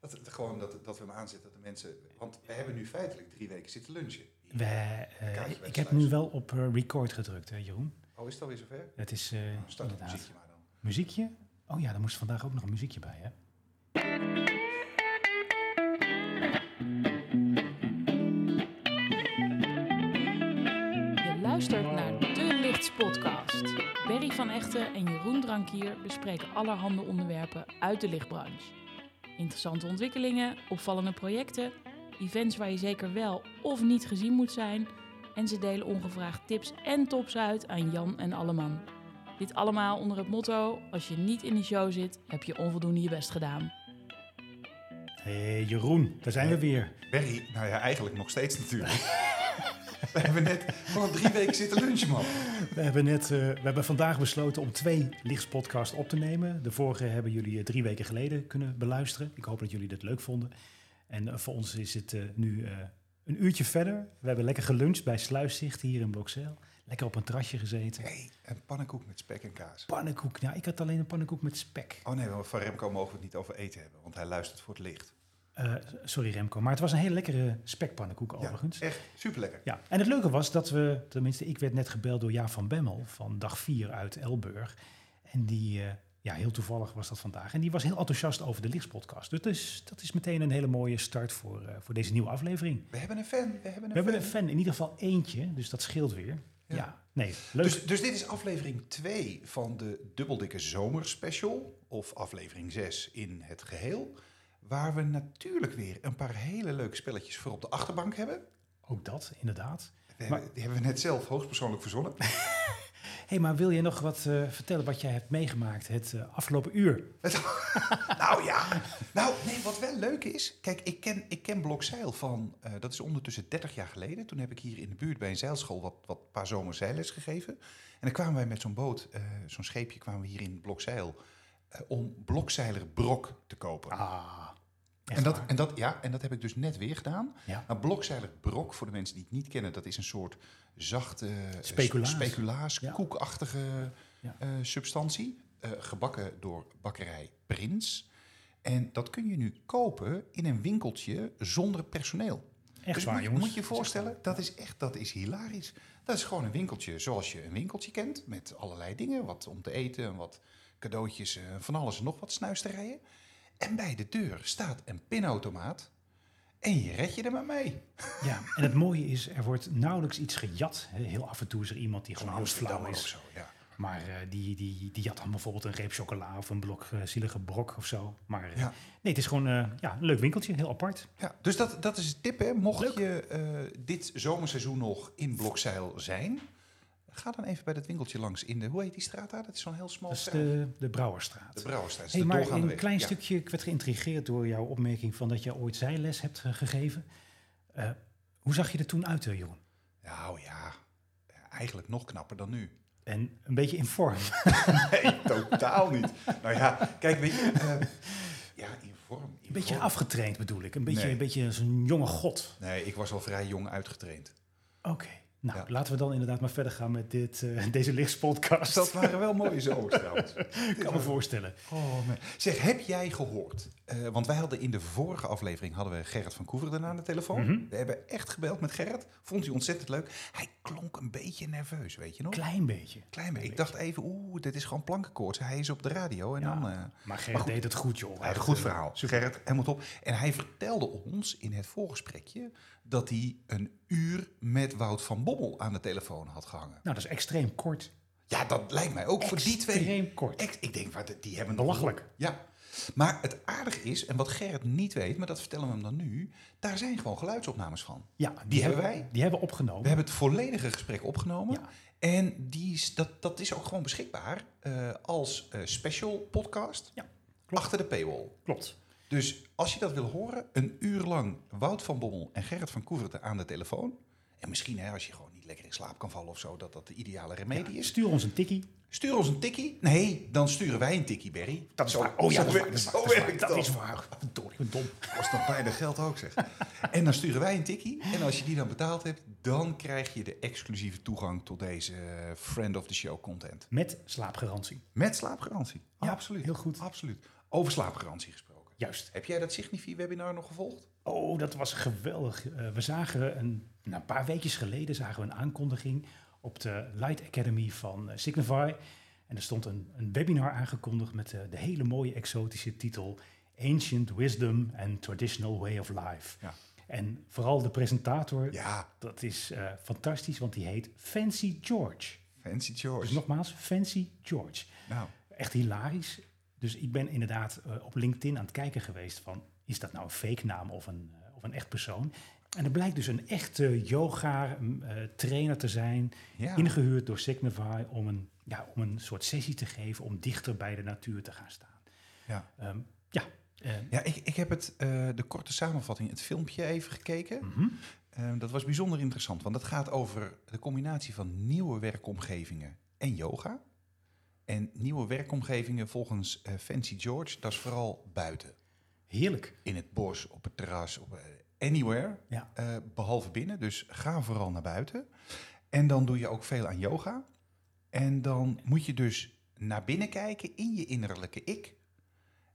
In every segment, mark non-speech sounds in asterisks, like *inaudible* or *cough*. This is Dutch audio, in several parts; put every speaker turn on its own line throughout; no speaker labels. Dat, het- gewoon dat, dat we hem aanzetten dat de mensen... Want we hebben nu feitelijk drie weken zitten lunchen.
We, eh,
kaartje
ik heb
wegsluizen.
nu wel op eh, record gedrukt, hè, Jeroen.
Oh, is het alweer zover?
Dat is eh
Nou, Start het
inderdaad.
muziekje maar dan.
Muziekje? Oh ja, daar moest vandaag ook nog een muziekje bij, hè?
Je luistert naar De Lichts Podcast. Berry van Echten en Jeroen Drankier bespreken allerhande onderwerpen uit de lichtbranche. Interessante ontwikkelingen, opvallende projecten, events waar je zeker wel of niet gezien moet zijn. En ze delen ongevraagd tips en tops uit aan Jan en Alleman. Dit allemaal onder het motto: als je niet in de show zit, heb je onvoldoende je best gedaan.
Hé, Jeroen, daar zijn we weer.
Berry, nou ja, eigenlijk nog steeds
*laughs*
natuurlijk. we hebben net gewoon drie weken zitten lunchen, man.
We hebben, net, eh, we hebben vandaag besloten om twee lichtspodcasts op te nemen. De vorige hebben jullie eh, drie weken geleden kunnen beluisteren. Ik hoop dat jullie dat leuk vonden. En eh, voor ons is het eh, nu eh, een uurtje verder. We hebben lekker geluncht bij Sluiszicht hier in Blokzeil. Lekker op een terrasje gezeten.
Nee, een pannenkoek met spek en kaas.
Pannenkoek. Nou, ik had alleen een pannenkoek met spek.
Oh nee, want van Remco mogen we het niet over eten hebben, want hij luistert voor het licht.
Eh, sorry Remco, maar het was een hele lekkere spekpannenkoek overigens.
Echt superlekker.
Ja, en het leuke was dat we, tenminste, ik werd net gebeld door Jaap van Bemmel van dag 4 uit Elburg. En die, eh, ja, heel toevallig was dat vandaag. En die was heel enthousiast over de Lichtspodcast. Dus dat is, dat is meteen een hele mooie start voor, eh, voor deze nieuwe aflevering.
We hebben een fan, we hebben een
We hebben
fan.
een fan, in ieder geval eentje, dus dat scheelt weer.
Ja.
Ja, nee, leuk.
Dus, dus dit is aflevering 2 van de dubbeldikke zomerspecial, of aflevering 6 in het geheel. Waar we natuurlijk weer een paar hele leuke spelletjes voor op de achterbank hebben.
Ook dat, inderdaad.
We
Maar-
hebben- die hebben we net zelf hoogstpersoonlijk
*laughs*
verzonnen.
Hé, hey, maar wil je nog wat eh, vertellen wat jij hebt meegemaakt het eh, afgelopen uur?
nou ja, nou nee, wat wel leuk is. Kijk, ik ken, ik ken Blokzeil van, eh, dat is ondertussen 30 jaar geleden. Toen heb ik hier in de buurt bij een zeilschool wat, wat paar zomers zeilles gegeven. En dan kwamen wij met zo'n boot, eh, zo'n scheepje, kwamen we hier in Blokzeil eh, om blokzeiler Brok te kopen.
Ah, echt
En dat,
waar?
en, dat, ja, en dat heb ik dus net weer gedaan.
Ja.
Nou, blokzeilig brok, voor de mensen die het niet kennen, dat is een soort zachte eh,
Speculaas.
sp- speculaas
Ja.
koekachtige
Ja.
eh, substantie. eh, gebakken door bakkerij Prins. En dat kun je nu kopen in een winkeltje zonder personeel.
Echt
dus
waar,
moet, je-
jongens.
moet je je voorstellen, dat is echt dat is hilarisch. Dat is gewoon een winkeltje zoals je een winkeltje kent. Met allerlei dingen, wat om te eten en wat cadeautjes, eh, van alles en nog wat snuisterijen. En bij de deur staat een pinautomaat. En je red je er maar mee.
Ja, en het mooie is, er wordt nauwelijks iets gejat. hè. Heel af en toe is er iemand die gewoon heel flauw
Amsterdammer of
is.
zo, ja.
Maar eh, die, die, die jat dan bijvoorbeeld een reep chocola of een blok eh, zielige brok of zo. Maar eh,
Ja.
nee, het is gewoon eh, ja, een leuk winkeltje, heel apart.
Ja, dus dat, dat is het tip, hè. Mocht je eh, dit zomerseizoen nog in Blokzeil zijn... ga dan even bij dat winkeltje langs in de... Hoe heet die straat daar? Dat is zo'n heel smal
Dat is
straat.
de, de Brouwerstraat.
De Brouwerstraat. Dat is
Hey,
de
maar
doorgaande
een
weg.
klein
Ja.
stukje, ik werd geïntrigeerd door jouw opmerking van dat je ooit zijles hebt eh, gegeven. Eh, hoe zag je er toen uit, eh, Jeroen?
Nou ja, eigenlijk nog knapper dan nu.
En een beetje in vorm.
Nee, totaal niet. Nou ja, kijk, weet je... eh, ja, in vorm. in
Een beetje
vorm.
afgetraind bedoel ik. Een beetje,
Nee.
een beetje zo'n jonge god.
Nee, ik was al vrij jong uitgetraind.
Oké. Nou,
Ja.
laten we dan inderdaad maar verder gaan met dit, eh, *laughs* deze lichtspodcast.
Dat waren wel mooie zomers trouwens.
*laughs* Ik kan me voorstellen.
Oh, man. Zeg, heb jij gehoord? eh, want wij hadden in de vorige aflevering hadden we Gerrit van Koeveren aan de telefoon.
Mhm.
We hebben echt gebeld met Gerrit. Vond hij ontzettend leuk. Hij klonk een beetje nerveus, weet je nog?
Klein beetje.
Klein beetje. Ik dacht even, oeh, dit is gewoon plankenkoorts. Hij is op de radio en
Ja.
dan... eh,
Maar
Maar
Gerrit
goed.
deed het goed, joh.
Hij had een goed verhaal. Gerrit, helemaal top. En hij vertelde ons in het voorgesprekje dat hij een uur met Wout van Bommel aan de telefoon had gehangen.
Nou, dat is extreem kort.
Ja, dat lijkt mij ook voor die twee.
Extreem kort.
Ex- ik denk, wat, die hebben nog-
Belachelijk.
Ja. Maar het aardige is, en wat Gerrit niet weet, maar dat vertellen we hem dan nu, daar zijn gewoon geluidsopnames van.
Ja, die,
hebben wij.
Die hebben we
We
opgenomen.
hebben het volledige gesprek opgenomen.
Ja.
En die, is- dat, dat is ook gewoon beschikbaar eh, als eh, special podcast
Ja,
achter de paywall.
klopt.
Dus als je dat wil horen, een uur lang Wout van Bommel en Gerrit van Koeverten aan de telefoon. En misschien hè, als je gewoon niet lekker in slaap kan vallen of zo, dat dat de ideale remedie is.
Stuur ons een tikkie.
Stuur ons een tikkie. Nee, dan sturen wij een tikkie, Berry.
Dat is
zo,
waar. Oh ja,
zo
dat is waar,
werkt-
dat is
zo
waar,
werkt
dat is waar, dat
dat.
is waar. Verdorie, ik ben dom.
Kost dat bijna geld ook, zeg. en dan sturen wij een tikkie. En als je die dan betaald hebt, dan krijg je de exclusieve toegang tot deze eh, Friend of the Show content.
Met slaapgarantie.
Met slaapgarantie.
Ja,
absoluut.
heel goed.
Absoluut. Over slaapgarantie gesproken.
Juist.
Heb jij dat Signifi-webinar nog gevolgd?
Oh, dat was geweldig. Eh, we zagen een, nou, een paar weekjes geleden zagen we een aankondiging op de Light Academy van eh, Signify. En er stond een, een webinar aangekondigd met eh, de hele mooie exotische titel Ancient Wisdom and Traditional Way of Life.
Ja.
En vooral de presentator,
Ja,
dat is eh, fantastisch, want die heet Fancy George.
Fancy
Dus
George.
nogmaals, Fancy George.
Nou,
Echt hilarisch. Dus ik ben inderdaad eh, op LinkedIn aan het kijken geweest van... is dat nou een fake naam of een, eh, of een echt persoon? En er blijkt dus een echte yoga-trainer te zijn...
ja.
ingehuurd door Signify om een, ja, om een soort sessie te geven... om dichter bij de natuur te gaan staan.
Ja.
Ehm, ja. eh,
Ja, ik, ik heb het, eh, de korte samenvatting, het filmpje even gekeken.
mhm.
Eh, dat was bijzonder interessant, want dat gaat over de combinatie van nieuwe werkomgevingen en yoga. En nieuwe werkomgevingen volgens eh, Fancy George, dat is vooral buiten.
Heerlijk.
In het bos, op het terras, op, eh, anywhere,
Ja.
eh, behalve binnen. Dus ga vooral naar buiten. En dan doe je ook veel aan yoga. En dan moet je dus naar binnen kijken in je innerlijke ik.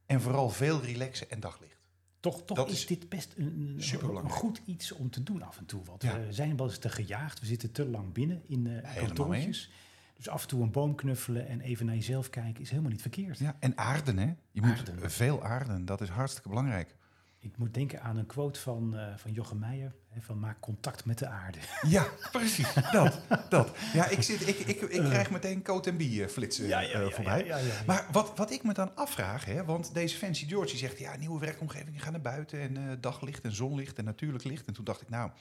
En vooral veel relaxen en daglicht.
Toch, toch
Dat
is,
is
dit best een, een, een
superbelangrijk.
goed iets om te doen af en toe. Want
Ja.
we zijn wel eens te gejaagd. We zitten te lang binnen in eh
Helemaal
kantoortjes. Dus af en toe een boom knuffelen en even naar jezelf kijken is helemaal niet verkeerd.
Ja, en aarden, hè? Je moet
Aarden.
veel aarden, dat is hartstikke belangrijk.
Ik moet denken aan een quote van, eh, van Jochem Meijer. Hè, van maak contact met de aarde.
Ja, precies. Dat, dat. Ja, ik, zit, ik, ik, ik krijg meteen coat en bier flitsen eh, voorbij.
*laughs* ja, ja, ja.
Maar wat, wat ik me dan afvraag, hè, want deze Fancy George die zegt... ja, nieuwe werkomgevingen gaan naar buiten en eh, daglicht en zonlicht en natuurlijk licht. En toen dacht ik, nou,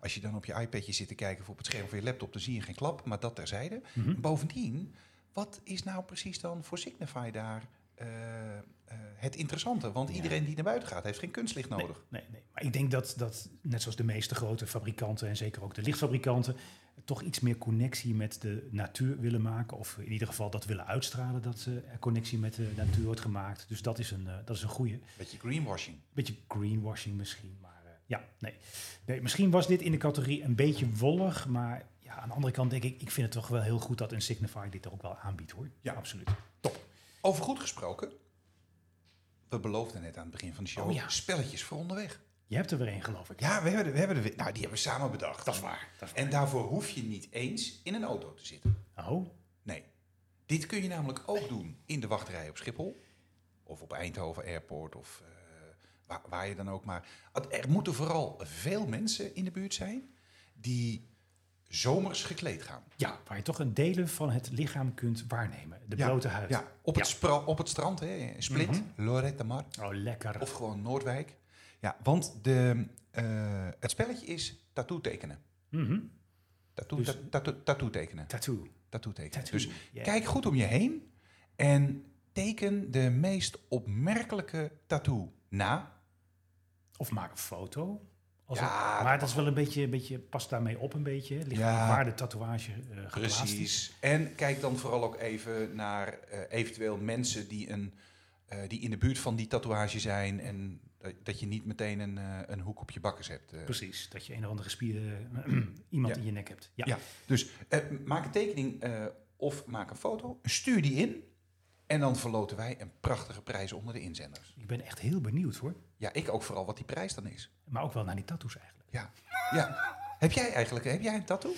als je dan op je iPadje zit te kijken... of op het scherm van je laptop, dan zie je geen klap, maar dat terzijde.
Mhm.
Bovendien, wat is nou precies dan voor Signify daar eh, eh, het interessante? Want
Ja.
iedereen die naar buiten gaat, heeft geen kunstlicht
Nee,
nodig.
Nee, nee. Maar ik denk dat, dat, net zoals de meeste grote fabrikanten en zeker ook de lichtfabrikanten, toch iets meer connectie met de natuur willen maken. Of in ieder geval dat willen uitstralen dat eh, er connectie met de natuur wordt gemaakt. Dus dat is een, eh, dat is een goede.
Beetje greenwashing.
Beetje greenwashing misschien. Maar eh, ja, nee. nee. Misschien was dit in de categorie een beetje wollig. Maar ja, aan de andere kant denk ik, ik vind het toch wel heel goed dat een Signify dit ook wel aanbiedt hoor.
Ja.
absoluut.
Over goed gesproken. We beloofden net aan het begin van de show
Oh ja.
spelletjes voor onderweg.
Je hebt er weer één, geloof ik.
Ja, we hebben, de, we hebben de, nou, die hebben we samen bedacht.
Dat is waar. Dat is
En daarvoor hoef je niet eens in een auto te zitten.
waar. Oh,
Nee. Dit kun je namelijk ook doen in de wachtrij op Schiphol. Of op Eindhoven Airport of eh, waar, waar je dan ook maar. At- Er moeten vooral veel mensen in de buurt zijn die zomers gekleed gaan.
Ja, waar je toch een delen van het lichaam kunt waarnemen. De
Ja,
blote huid.
Ja, op, Het, spra- op het strand, hè, Split, Lorette Mar.
Oh, lekker.
Of gewoon Noordwijk. Ja, want de, eh, het spelletje is tattoo tekenen.
Mhm.
Tattoo,
Dus-
ta- tattoo, tattoo tekenen.
Tattoo.
Tattoo tekenen.
Tattoo.
Dus
Ja.
kijk goed om je heen en teken de meest opmerkelijke tattoo na.
Of maak een foto. Als
Ja,
het- maar dat is wel een beetje, een beetje, pas daarmee op een beetje. hè. Ligt
Ja.
aan waar de tatoeage eh geplaatst is.
En kijk dan vooral ook even naar eh, eventueel mensen die, een, eh, die in de buurt van die tatoeage zijn. En dat, dat je niet meteen een, eh, een hoek op je bakkes hebt. eh.
Precies, dat je een of andere gespierde *clears throat* iemand
Ja.
in je nek hebt. Ja.
Ja. Dus eh, maak een tekening eh, of maak een foto, stuur die in. En dan verloten wij een prachtige prijs onder de inzenders.
Ik ben echt heel benieuwd hoor.
Ja, ik ook vooral wat die prijs dan is.
Maar ook wel naar die tattoos eigenlijk.
Ja. ja. Heb jij eigenlijk heb jij een tattoo?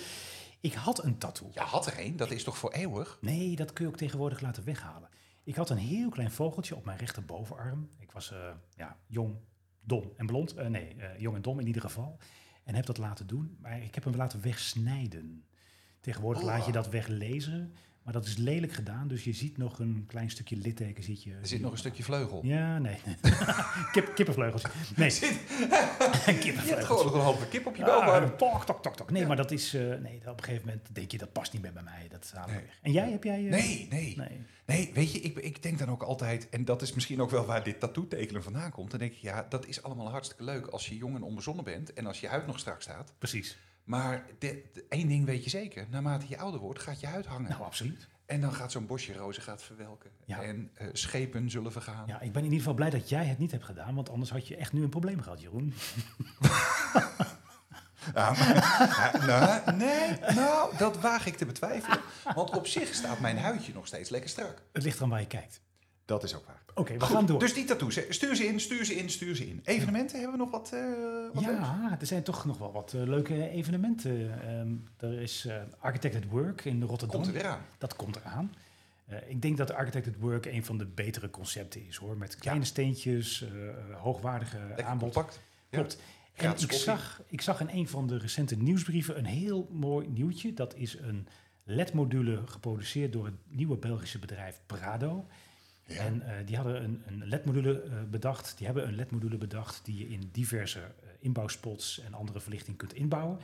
Ik had een tattoo.
Ja, had er een. Dat is toch voor eeuwig?
Nee, dat kun je ook tegenwoordig laten weghalen. Ik had een heel klein vogeltje op mijn rechterbovenarm. Ik was eh, ja, jong, dom en blond. Eh, nee, eh, jong en dom in ieder geval. En heb dat laten doen, maar ik heb hem laten wegsnijden. Tegenwoordig
Oh.
laat je dat weglezen, maar dat is lelijk gedaan. Dus je ziet nog een klein stukje litteken. Ziet je,
Er zit nog een stukje vleugel.
Ja, nee. *laughs* Kip, kippenvleugels. Nee. *laughs*
Je hebt
kippenvleugels.
gewoon nog een halve kip op je
Ah,
bovenarm.
tok, tok, tok, tok. Nee, maar dat is... eh, nee, op een gegeven moment denk je, dat past niet meer bij mij. Dat haal ik
Nee.
weg. En jij, heb jij... eh,
Nee, nee.
Nee.
Nee, weet je, ik, ik denk dan ook altijd... en dat is misschien ook wel waar dit tattoo tekenen vandaan komt... dan denk ik, ja, dat is allemaal hartstikke leuk... als je jong en onbezonnen bent en als je huid nog strak staat...
Precies.
Maar de- de- één ding weet je zeker. Naarmate je ouder wordt, gaat je huid hangen.
Nou, absoluut.
En dan gaat zo'n bosje rozen gaat verwelken.
Ja.
En eh, schepen zullen vergaan.
Ja, ik ben in ieder geval blij dat jij het niet hebt gedaan, want anders had je echt nu een probleem gehad, Jeroen.
Ja, Ah, maar- *laughs* ja, nou, nee, nou, dat waag ik te betwijfelen. Want op zich staat mijn huidje nog steeds lekker strak.
Het ligt eraan waar je kijkt.
Dat is ook waar.
Oké, we gaan door.
Dus die tattoos, hè. stuur ze in, stuur ze in, stuur ze in. Evenementen, hebben we nog wat, eh wat leuks?
ja, er zijn toch nog wel wat eh, leuke evenementen. Ehm, er is eh, Architect at Work in Rotterdam.
Komt er weer aan.
Dat komt eraan. Eh, ik denk dat Architect at Work een van de betere concepten is hoor. Met kleine steentjes, eh, hoogwaardige
Lekker
aanbod.
compact. Ja.
Klopt. En
Gratis
ik
koffie.
zag, ik zag in een van de recente nieuwsbrieven een heel mooi nieuwtje. Dat is een LED-module geproduceerd door het nieuwe Belgische bedrijf Prado.
Ja.
En eh, die hadden een, een LED-module eh, bedacht. Die hebben een LED-module bedacht die je in diverse eh, inbouwspots en andere verlichting kunt inbouwen.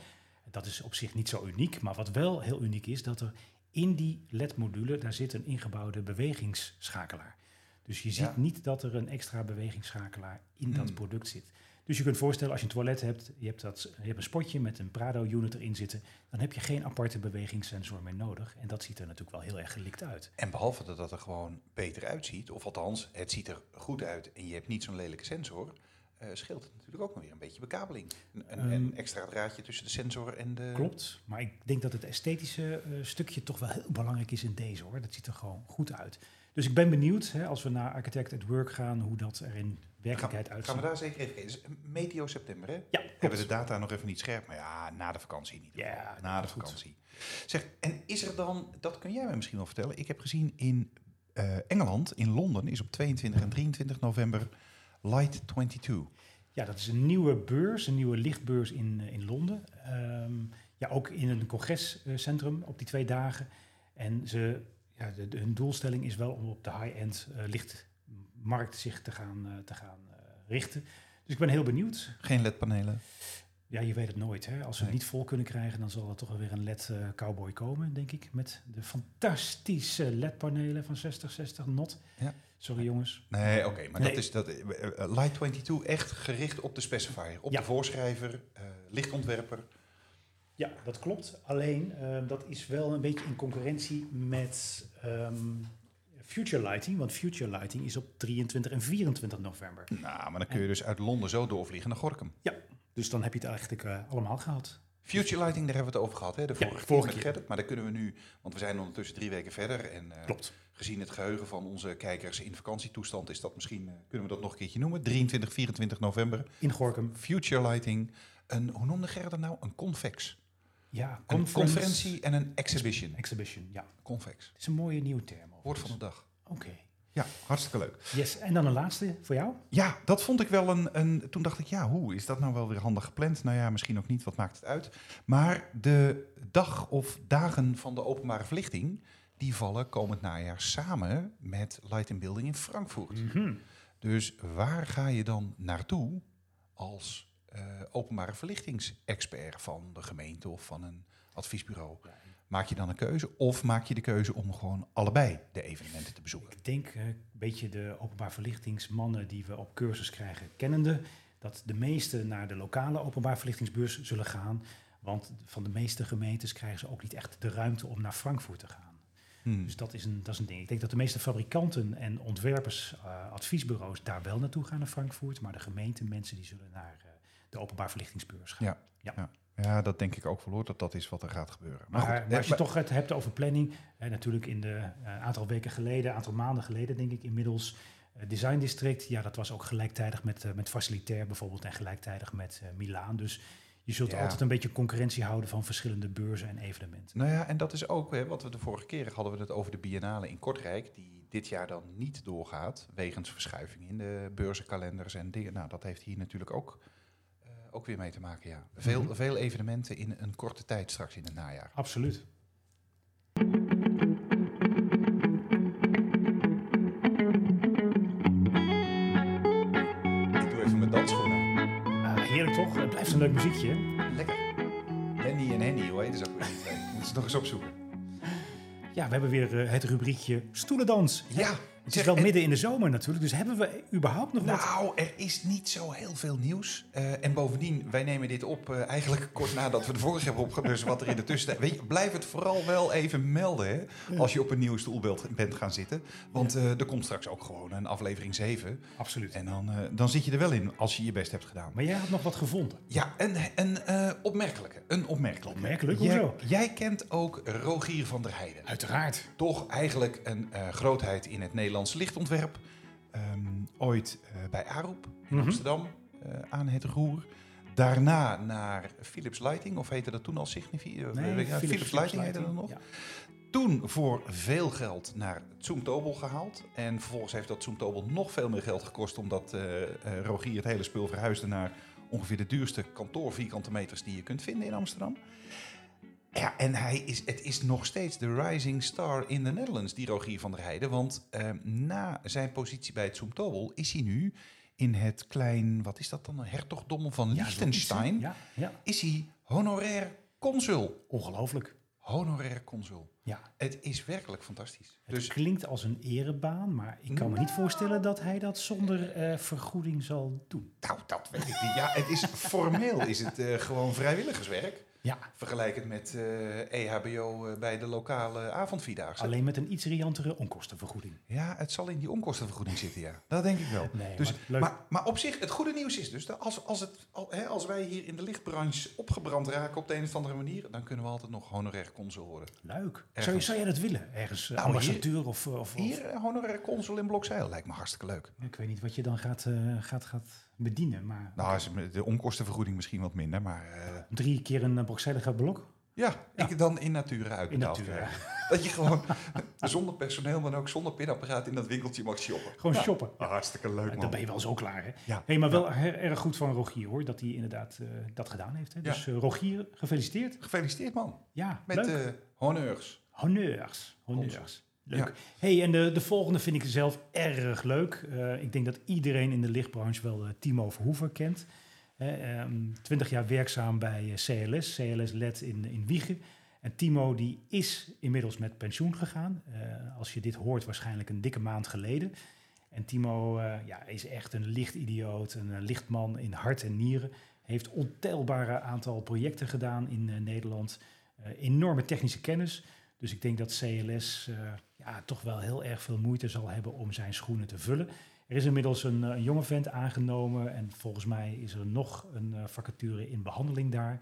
Dat is op zich niet zo uniek. Maar wat wel heel uniek is, dat er in die LED-module, daar zit een ingebouwde bewegingsschakelaar. Dus je ziet
Ja.
niet dat er een extra bewegingsschakelaar in dat
Hmm.
product zit. Dus je kunt voorstellen, als je een toilet hebt, je hebt, dat, je hebt een spotje met een Prado-unit erin zitten, dan heb je geen aparte bewegingssensor meer nodig. En dat ziet er natuurlijk wel heel erg gelikt uit.
En behalve dat het er gewoon beter uitziet, of althans, het ziet er goed uit en je hebt niet zo'n lelijke sensor, eh, scheelt het natuurlijk ook nog weer een beetje bekabeling. Een, een, een extra draadje tussen de sensor en de...
Klopt, maar ik denk dat het esthetische eh, stukje toch wel heel belangrijk is in deze hoor. Dat ziet er gewoon goed uit. Dus ik ben benieuwd, hè, als we naar Architect at Work gaan, hoe dat er in werkelijkheid
Gaan, gaan
uitziet.
we daar zeker even kijken. Het is medio september, hè?
Ja,
Hebben de
klopt.
data nog even niet scherp, maar ja, na de vakantie niet.
Ja,
na de
goed.
vakantie. Zeg, en is er dan, dat kun jij mij misschien wel vertellen. Ik heb gezien in eh, Engeland, in Londen, is op 22 en 23 november Light 22.
Ja, dat is een nieuwe beurs, een nieuwe lichtbeurs in, eh, in Londen. Ehm, ja, ook in een congrescentrum op die twee dagen. En ze, ja, de, de- hun doelstelling is wel om op de high-end eh, lichtmarkt zich te gaan, eh, te gaan eh, richten. Dus ik ben heel benieuwd.
Geen ledpanelen.
Ja, je weet het nooit. Hè? Als we
Nee.
het niet vol kunnen krijgen, dan zal er toch wel weer een E LED-cowboy eh, komen, denk ik. Met de fantastische LED-panelen van 60, 60 not.
Ja.
Sorry jongens.
Nee, oké, maar
Nee.
dat is dat. eh, eh, Light 22 echt gericht op de specifier, op
Ja.
de voorschrijver, eh, lichtontwerper.
Ja, dat klopt. Alleen, eh, dat is wel een beetje in concurrentie met ehm, Future Lighting. Want Future Lighting is op 23 en 24 november.
Nou, maar dan kun je dus uit Londen zo doorvliegen naar Gorkum.
Dus dan heb je het eigenlijk eh, allemaal gehad.
Future Lighting, daar hebben we het over gehad, hè? De
Ja,
vorige,
vorige
keer. met
keer.
Gerrit, maar daar kunnen we nu, want we zijn ondertussen drie weken verder en eh,
Klopt.
gezien het geheugen van onze kijkers in vakantietoestand is dat misschien, eh, kunnen we dat nog een keertje noemen. 23, 24 november,
In Gorkum.
Future Lighting. Een, hoe noemde Gerrit dat nou? Een convex.
Ja,
Een conferentie en een exhibition.
Exhibition, ja.
Convex.
Het is een mooie nieuwe term.
Woord
overigens.
van de dag.
Oké.
Ja, hartstikke leuk.
Yes, en dan een laatste voor jou.
Ja, dat vond ik wel een, een... Toen dacht ik, ja, hoe is dat nou wel weer handig gepland? Nou ja, misschien ook niet, wat maakt het uit? Maar de dag of dagen van de openbare verlichting... die vallen komend najaar samen met Light in Building in Frankfurt.
Mhm.
Dus waar ga je dan naartoe als eh, openbare verlichtingsexpert van de gemeente of van een adviesbureau?
Ja.
Maak je dan een keuze of maak je de keuze om gewoon allebei de evenementen te bezoeken?
Ik denk, eh, een beetje de openbaar verlichtingsmannen die we op cursus krijgen kennende, dat de meesten naar de lokale openbaar verlichtingsbeurs zullen gaan. Want van de meeste gemeentes krijgen ze ook niet echt de ruimte om naar Frankfurt te gaan.
Hmm.
Dus dat is een, dat is een ding. Ik denk dat de meeste fabrikanten en ontwerpers, eh, adviesbureaus daar wel naartoe gaan naar Frankfurt. Maar de gemeente mensen die zullen naar eh, de openbaar verlichtingsbeurs gaan.
Ja, dat denk ik ook wel hoor, dat dat is wat er gaat gebeuren.
Maar,
goed,
maar als
eh,
je het toch het hebt over planning, eh, natuurlijk in de eh, aantal weken geleden, aantal maanden geleden denk ik inmiddels, eh, Design District, ja dat was ook gelijktijdig met, eh, met Facilitair bijvoorbeeld en gelijktijdig met eh, Milaan. Dus je zult
Ja.
altijd een beetje concurrentie houden van verschillende beurzen en evenementen.
Nou ja, en dat is ook hè, wat we de vorige keer hadden we het over de biennale in Kortrijk, die dit jaar dan niet doorgaat wegens verschuiving in de beurzenkalenders en dingen. Nou, dat heeft hier natuurlijk ook, eh, ook weer mee te maken. Ja. Veel,
Mhm.
veel evenementen in een korte tijd straks in het najaar.
Absoluut.
Ik doe even mijn dansschoenen.
Ah, heerlijk toch? Het blijft een leuk muziekje. hè?
Lekker. Lenny en Henny, hoe heet ze ook weer? die twee? Moeten ze nog eens opzoeken.
Ja, we hebben weer eh, het rubriekje stoelendans.
Ja,
Het is
zeg,
wel
en-
midden in de zomer natuurlijk, dus hebben we überhaupt nog wat?
Nou, er is niet zo heel veel nieuws. Eh, en bovendien, wij nemen dit op eh, eigenlijk kort nadat we de vorige hebben opgenomen.
*laughs*
Dus wat er in de tussentijd... Weet je, blijf het vooral wel even melden, hè. Als je op een nieuw stoelbeeld bent gaan zitten. Want eh, er komt straks ook gewoon een aflevering 7.
Absoluut.
En dan, eh, dan zit je er wel in, als je je best hebt gedaan.
Maar jij had nog wat gevonden.
Ja, een, een eh, opmerkelijke. Een opmerkelijke.
Opmerkelijk?
Jij-
Hoezo?
jij kent ook Rogier van der Heijden
Uiteraard.
toch eigenlijk een eh, grootheid in het Nederlands lichtontwerp. Ehm, ooit eh, bij Arup in
Mhm.
Amsterdam eh, aan het roer. Daarna naar Philips Lighting, of heette dat toen al Signifi? eh, weet ik- ja, Philips, Lighting heette dat nog.
Ja.
Toen voor veel geld naar Zoomtobel gehaald. En vervolgens heeft dat Zoomtobel nog veel meer geld gekost. Omdat eh, eh, Rogier het hele spul verhuisde naar ongeveer de duurste kantoorvierkante meters die je kunt vinden in Amsterdam. Ja, en hij is, het is nog steeds de rising star in de Netherlands, die Rogier van der Heijden. Want eh, na zijn positie bij het Zoomtobel is hij nu in het klein, wat is dat dan, een hertogdom van
Ja,
Liechtenstein.
Ja, ja.
Is hij honorair consul.
ongelooflijk.
Honorair consul.
Ja.
Het is werkelijk fantastisch.
Het
dus Nou.
klinkt als een erebaan, maar ik kan me niet voorstellen dat hij dat zonder eh, vergoeding zal doen.
nou, dat weet ik niet. Ja, het is, formeel is het eh, gewoon vrijwilligerswerk.
Ja,
Vergelijk het met eh, EHBO eh, bij de lokale avondvierdaagse.
alleen met een iets riantere onkostenvergoeding.
Ja, het zal in die onkostenvergoeding zitten, ja. Dat denk ik wel.
Nee,
Dus,
maar leuk.
maar, maar op zich, het goede nieuws is dus, dat als, als, het, al- hè, als wij hier in de lichtbranche opgebrand raken op de een of andere manier, dan kunnen we altijd nog honorair consul worden.
Leuk. Zou, je-
Ergens.
zou jij dat willen? Ergens eh,
Nou,
ambassadeur of, of, of-
Hier, eh, honorair consul in Blokzeil, lijkt me hartstikke leuk.
Ik weet niet wat je dan gaat, eh, gaat, gaat bedienen, maar
Nou, is de onkostenvergoeding misschien wat minder, maar eh,
drie keer een uh, gaat blok?
ja, ik dan in natura
In
uitbetaald
natuur.
krijg. Dat je gewoon *laughs* zonder personeel, maar ook zonder pinapparaat in dat winkeltje mag shoppen.
Gewoon shoppen.
Ah, Hartstikke leuk,
En dan ben je wel zo klaar, hè?
Ja.
Hey, maar wel her- erg goed van Rogier, hoor, dat hij inderdaad eh, dat gedaan heeft. Hè?
Ja.
Dus eh, Rogier, gefeliciteerd.
Gefeliciteerd, man.
Ja,
Met
leuk.
eh honneurs.
Honneurs. Honneurs. Leuk.
Ja.
Hey, en de, de volgende vind ik zelf erg leuk. Eh, ik denk dat iedereen in de lichtbranche wel eh, Timo Verhoeven kent. ehm, Twintig jaar werkzaam bij eh, CLS, CLS LED in, in Wiegen. En Timo die is inmiddels met pensioen gegaan. Eh, als je dit hoort, waarschijnlijk een dikke maand geleden. En Timo eh, ja, is echt een lichtidioot, een eh, lichtman in hart en nieren. Heeft ontelbare aantal projecten gedaan in eh, Nederland. Eh, enorme technische kennis. Dus ik denk dat CLS eh, ja, toch wel heel erg veel moeite zal hebben om zijn schoenen te vullen. Er is inmiddels een, eh, een jonge vent aangenomen en volgens mij is er nog een eh, vacature in behandeling daar.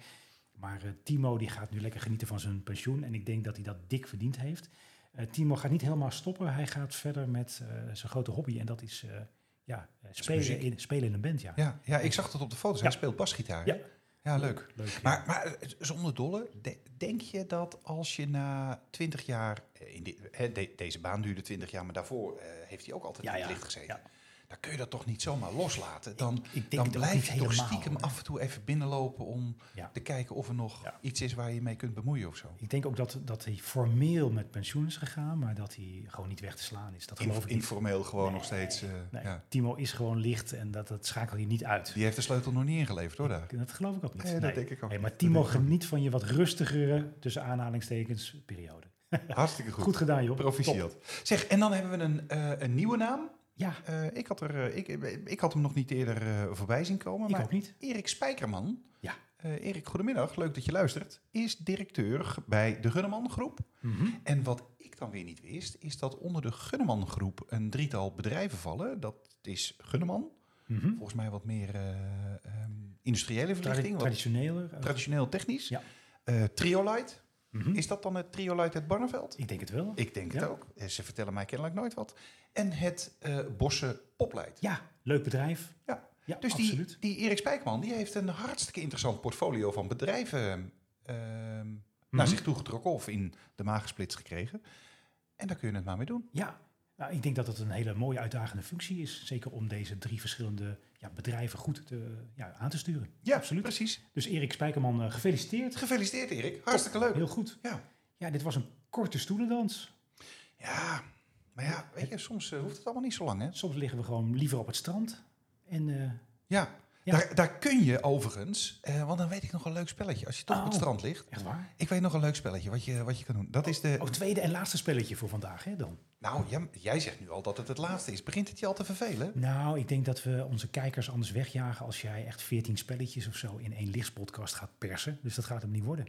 Maar eh, Timo die gaat nu lekker genieten van zijn pensioen en ik denk dat hij dat dik verdiend heeft. Eh, Timo gaat niet helemaal stoppen, hij gaat verder met eh, zijn grote hobby en dat is eh, ja, eh, spelen,
muziek.
in, spelen in een band. Ja,
Ja, ja, ik zag dat op de foto's. Hij
Ja.
speelt basgitaar.
Ja.
ja leuk.
leuk.
Maar, maar zonder dolle, de- denk je dat als je na 20 jaar... eh, In de- hè, de- deze baan duurde 20 jaar, maar daarvoor eh, heeft hij ook altijd
Ja,
in het
ja,
licht gezeten.
ja.
Dan kun je dat toch niet zomaar loslaten? Dan,
ik denk
dan
het ook
blijf
niet
je toch
helemaal,
stiekem
hoor.
af en toe even binnenlopen... om
Ja.
te kijken of er nog
Ja.
iets is waar je mee kunt bemoeien of zo.
Ik denk ook dat, dat hij formeel met pensioen is gegaan, maar dat hij gewoon niet weg te slaan is. Dat geloof
Inf-
ik niet.
informeel gewoon nog steeds. eh,
Nee,
ja.
Timo is gewoon licht en dat, dat schakelt je niet uit.
Die heeft de sleutel nog niet ingeleverd hoor daar.
Dat geloof ik ook niet.
Nee, dat denk ik ook
Hey,
niet.
maar
Dat
Timo
denk ik ook
geniet van je wat rustigere, tussen aanhalingstekens, periode.
Hartstikke
Goed,
goed.
gedaan, joh. Top.
Proficiat. Zeg, en dan hebben we een, eh, een nieuwe naam.
Ja,
Eh, ik, had er, eh, ik, ik had hem nog niet eerder eh, voorbij zien komen.
ik
maar
ook niet.
Erik Spijkerman.
Ja.
Eh, Erik, goedemiddag. Leuk dat je luistert. Is directeur g- bij de Gunneman Groep.
Mhm.
En wat ik dan weer niet wist, is dat onder de Gunneman Groep een drietal bedrijven vallen. Dat is Gunneman.
Mhm.
Volgens mij wat meer eh, ehm, industriële
Tradi-
verlichting. wat
traditioneler. eh,
traditioneel technisch.
Ja.
Eh, Triolite.
mhm.
Is dat dan het Triolite uit Barneveld?
Ik denk het wel.
Ik denk
Ja.
het ook. Eh, Ze vertellen mij kennelijk nooit wat. En het eh Bosse Popleit.
Ja, leuk bedrijf.
Ja.
ja
Dus
absoluut.
die, die Erik Spijkman die heeft een hartstikke interessant portfolio van bedrijven ehm,
Mhm.
naar zich toegetrokken of in de maag gesplitst gekregen. En daar kun je het maar mee doen.
Ja, nou, ik denk dat het een hele mooie uitdagende functie is. Zeker om deze drie verschillende ja, bedrijven goed te, ja, aan te sturen.
Ja, absoluut. Precies.
Dus Erik Spijkerman, eh, gefeliciteerd.
Gefeliciteerd, Erik. Hartstikke leuk.
Heel goed.
Ja.
Ja, dit was een korte stoelendans.
ja, maar ja, weet je, soms eh, hoeft het allemaal niet zo lang, hè?
Soms liggen we gewoon liever op het strand. En eh,
Ja,
Ja.
Daar, daar kun je overigens, eh, want dan weet ik nog een leuk spelletje. Als je toch op het
Oh.
strand ligt.
echt waar.
Ik weet nog een leuk spelletje wat je, wat je kan doen. Dat is de.
Oh, tweede en laatste spelletje voor vandaag, hè dan?
Nou, jij, jij zegt nu al dat het het laatste is. Begint het je al te vervelen?
Nou, ik denk dat we onze kijkers anders wegjagen als jij echt 14 spelletjes of zo in één lichtspodcast gaat persen. Dus dat gaat hem niet worden.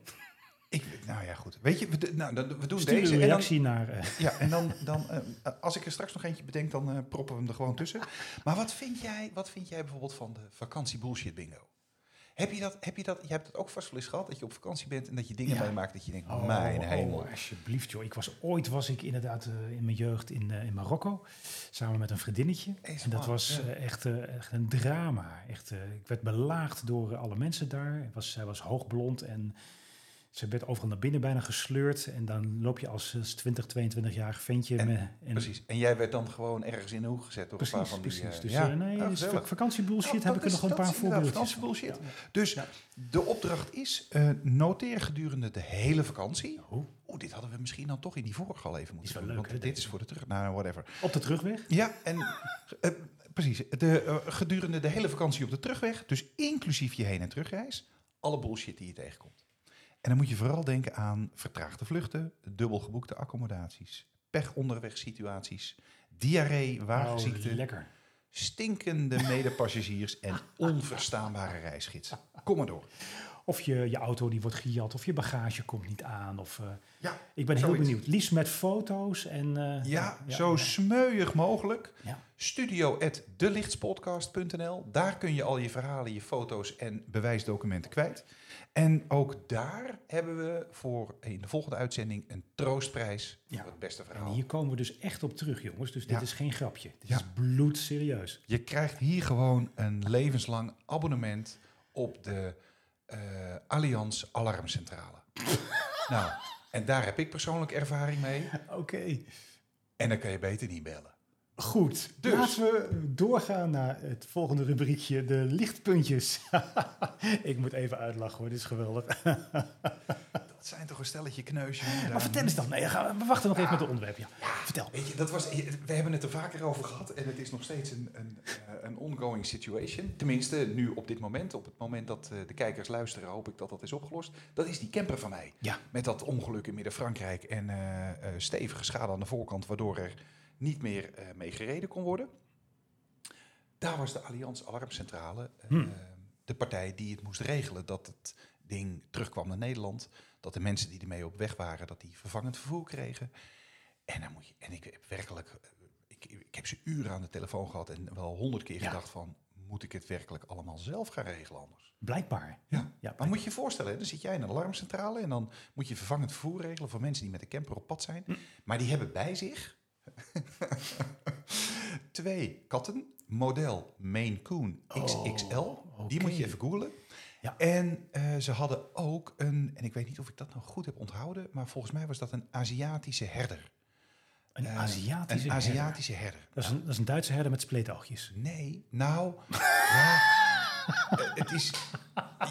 Ik, nou ja, goed. Weet je, we, do- nou, dan- we doen
Stuur
deze.
een
En dan,
reactie naar... eh,
ja, en dan, dan eh, als ik er straks nog eentje bedenk, dan eh, proppen we hem er gewoon tussen. Maar wat vind jij, wat vind jij bijvoorbeeld van de vakantie bullshit bingo? Heb je dat, heb je dat, je hebt dat ook vast wel eens gehad, dat je op vakantie bent en dat je dingen
Ja.
meemaakt dat je denkt,
Oh,
mijn
oh,
hemel.
alsjeblieft, joh. Ik was, ooit was ik inderdaad eh, in mijn jeugd in, eh, in Marokko. Samen met een vriendinnetje.
Eens
En dat
man,
was
ja.
eh, echt, eh, echt een drama. Echt, eh, ik werd belaagd door eh, alle mensen daar. Ik was, zij was hoogblond en ze werd overal naar binnen bijna gesleurd. En dan loop je als, als 20, 22-jarig ventje.
En-
met- en-
Precies. En jij werd dan gewoon ergens in de hoek gezet door een paar
Precies,
van die...
precies.
eh,
dus
ja,
eh, nee,
Ah,
dus
gezellig.
vak- vakantiebullshit
Nou,
heb ik er
dat
nog
is-
een
dat
paar
is inderdaad
voorbeeldjes van.
vakantiebullshit.
Ja.
Dus
Ja.
de opdracht is, eh, noteer gedurende de hele vakantie.
Oh,
Oeh, dit hadden we misschien dan toch in die vorige al even moeten
wel
doen.
leuk,
want
hè,
dit
deze.
is voor de terug... Nou, whatever.
op de terugweg.
Ja, en eh, precies. De, eh, gedurende de hele vakantie op de terugweg, dus inclusief je heen- en terugreis, alle bullshit die je tegenkomt. En dan moet je vooral denken aan vertraagde vluchten, dubbel geboekte accommodaties, pech onderweg situaties, diarree, wagenziekte,
Oh, lekker.
stinkende medepassagiers en onverstaanbare reisgidsen. Kom maar door.
Of je, je auto die wordt gejat, of je bagage komt niet aan. Of, eh,
Ja,
ik ben heel
zoiets.
benieuwd. Liefst met foto's en... eh,
Ja, zo smeuig mogelijk.
Ja.
Studio@delichtspodcast.nl. Daar kun je al je verhalen, je foto's en bewijsdocumenten kwijt. En ook daar hebben we voor in de volgende uitzending een troostprijs
Ja.
voor het beste
En
verhaal.
hier komen we dus echt op terug, jongens. Dus dit
Ja.
is geen grapje. Dit
Ja.
is
*laughs*
bloedserieus.
Je krijgt hier gewoon een levenslang abonnement op de eh Allianz
*laughs*
Alarmcentrale. nou, en daar heb ik persoonlijk ervaring mee.
Oké,
En dan kan je beter niet bellen.
goed.
Dus.
Laten we doorgaan naar het volgende rubriekje, de lichtpuntjes. *laughs* ik moet even uitlachen hoor, dit is geweldig.
Dat zijn toch een stelletje kneusjes.
Maar vertel eens dan. Nee, ga- we wachten nog even met het onderwerp. Ja. Vertel.
Weet je, dat was, we hebben het er vaker over gehad en het is nog steeds een, een, eh, een ongoing situation. Tenminste, nu op dit moment, op het moment dat eh, de kijkers luisteren, hoop ik dat dat is opgelost. Dat is die camper van mij.
Ja.
Met dat ongeluk in Midden-Frankrijk en eh, eh, stevige schade aan de voorkant, waardoor er niet meer eh, mee gereden kon worden. Daar was de Allianz Alarmcentrale eh,
Hmm.
de partij die het moest regelen dat het ding terugkwam naar Nederland. Dat de mensen die ermee op weg waren, dat die vervangend vervoer kregen. En, dan moet je, en ik heb werkelijk, eh, ik, ik heb ze uren aan de telefoon gehad en wel honderd keer
Ja.
gedacht van, moet ik het werkelijk allemaal zelf gaan regelen anders?
Blijkbaar.
Ja.
ja
Maar moet je je voorstellen, hè, dan zit jij in een alarmcentrale en dan moet je vervangend vervoer regelen voor mensen die met de camper op pad
Hm.
zijn. Maar die hebben bij zich *laughs* twee katten, model Maine Coon XXL.
Oh,
Die moet je
oké.
even googlen.
Ja.
En eh, ze hadden ook een, en ik weet niet of ik dat nou goed heb onthouden, maar volgens mij was dat een Aziatische herder.
Een
Eh,
Aziatische
Een
herder.
Aziatische herder.
Dat is, een, dat is een Duitse herder met spleetoogjes.
Nee,
*laughs*
nou, ja, eh, het is,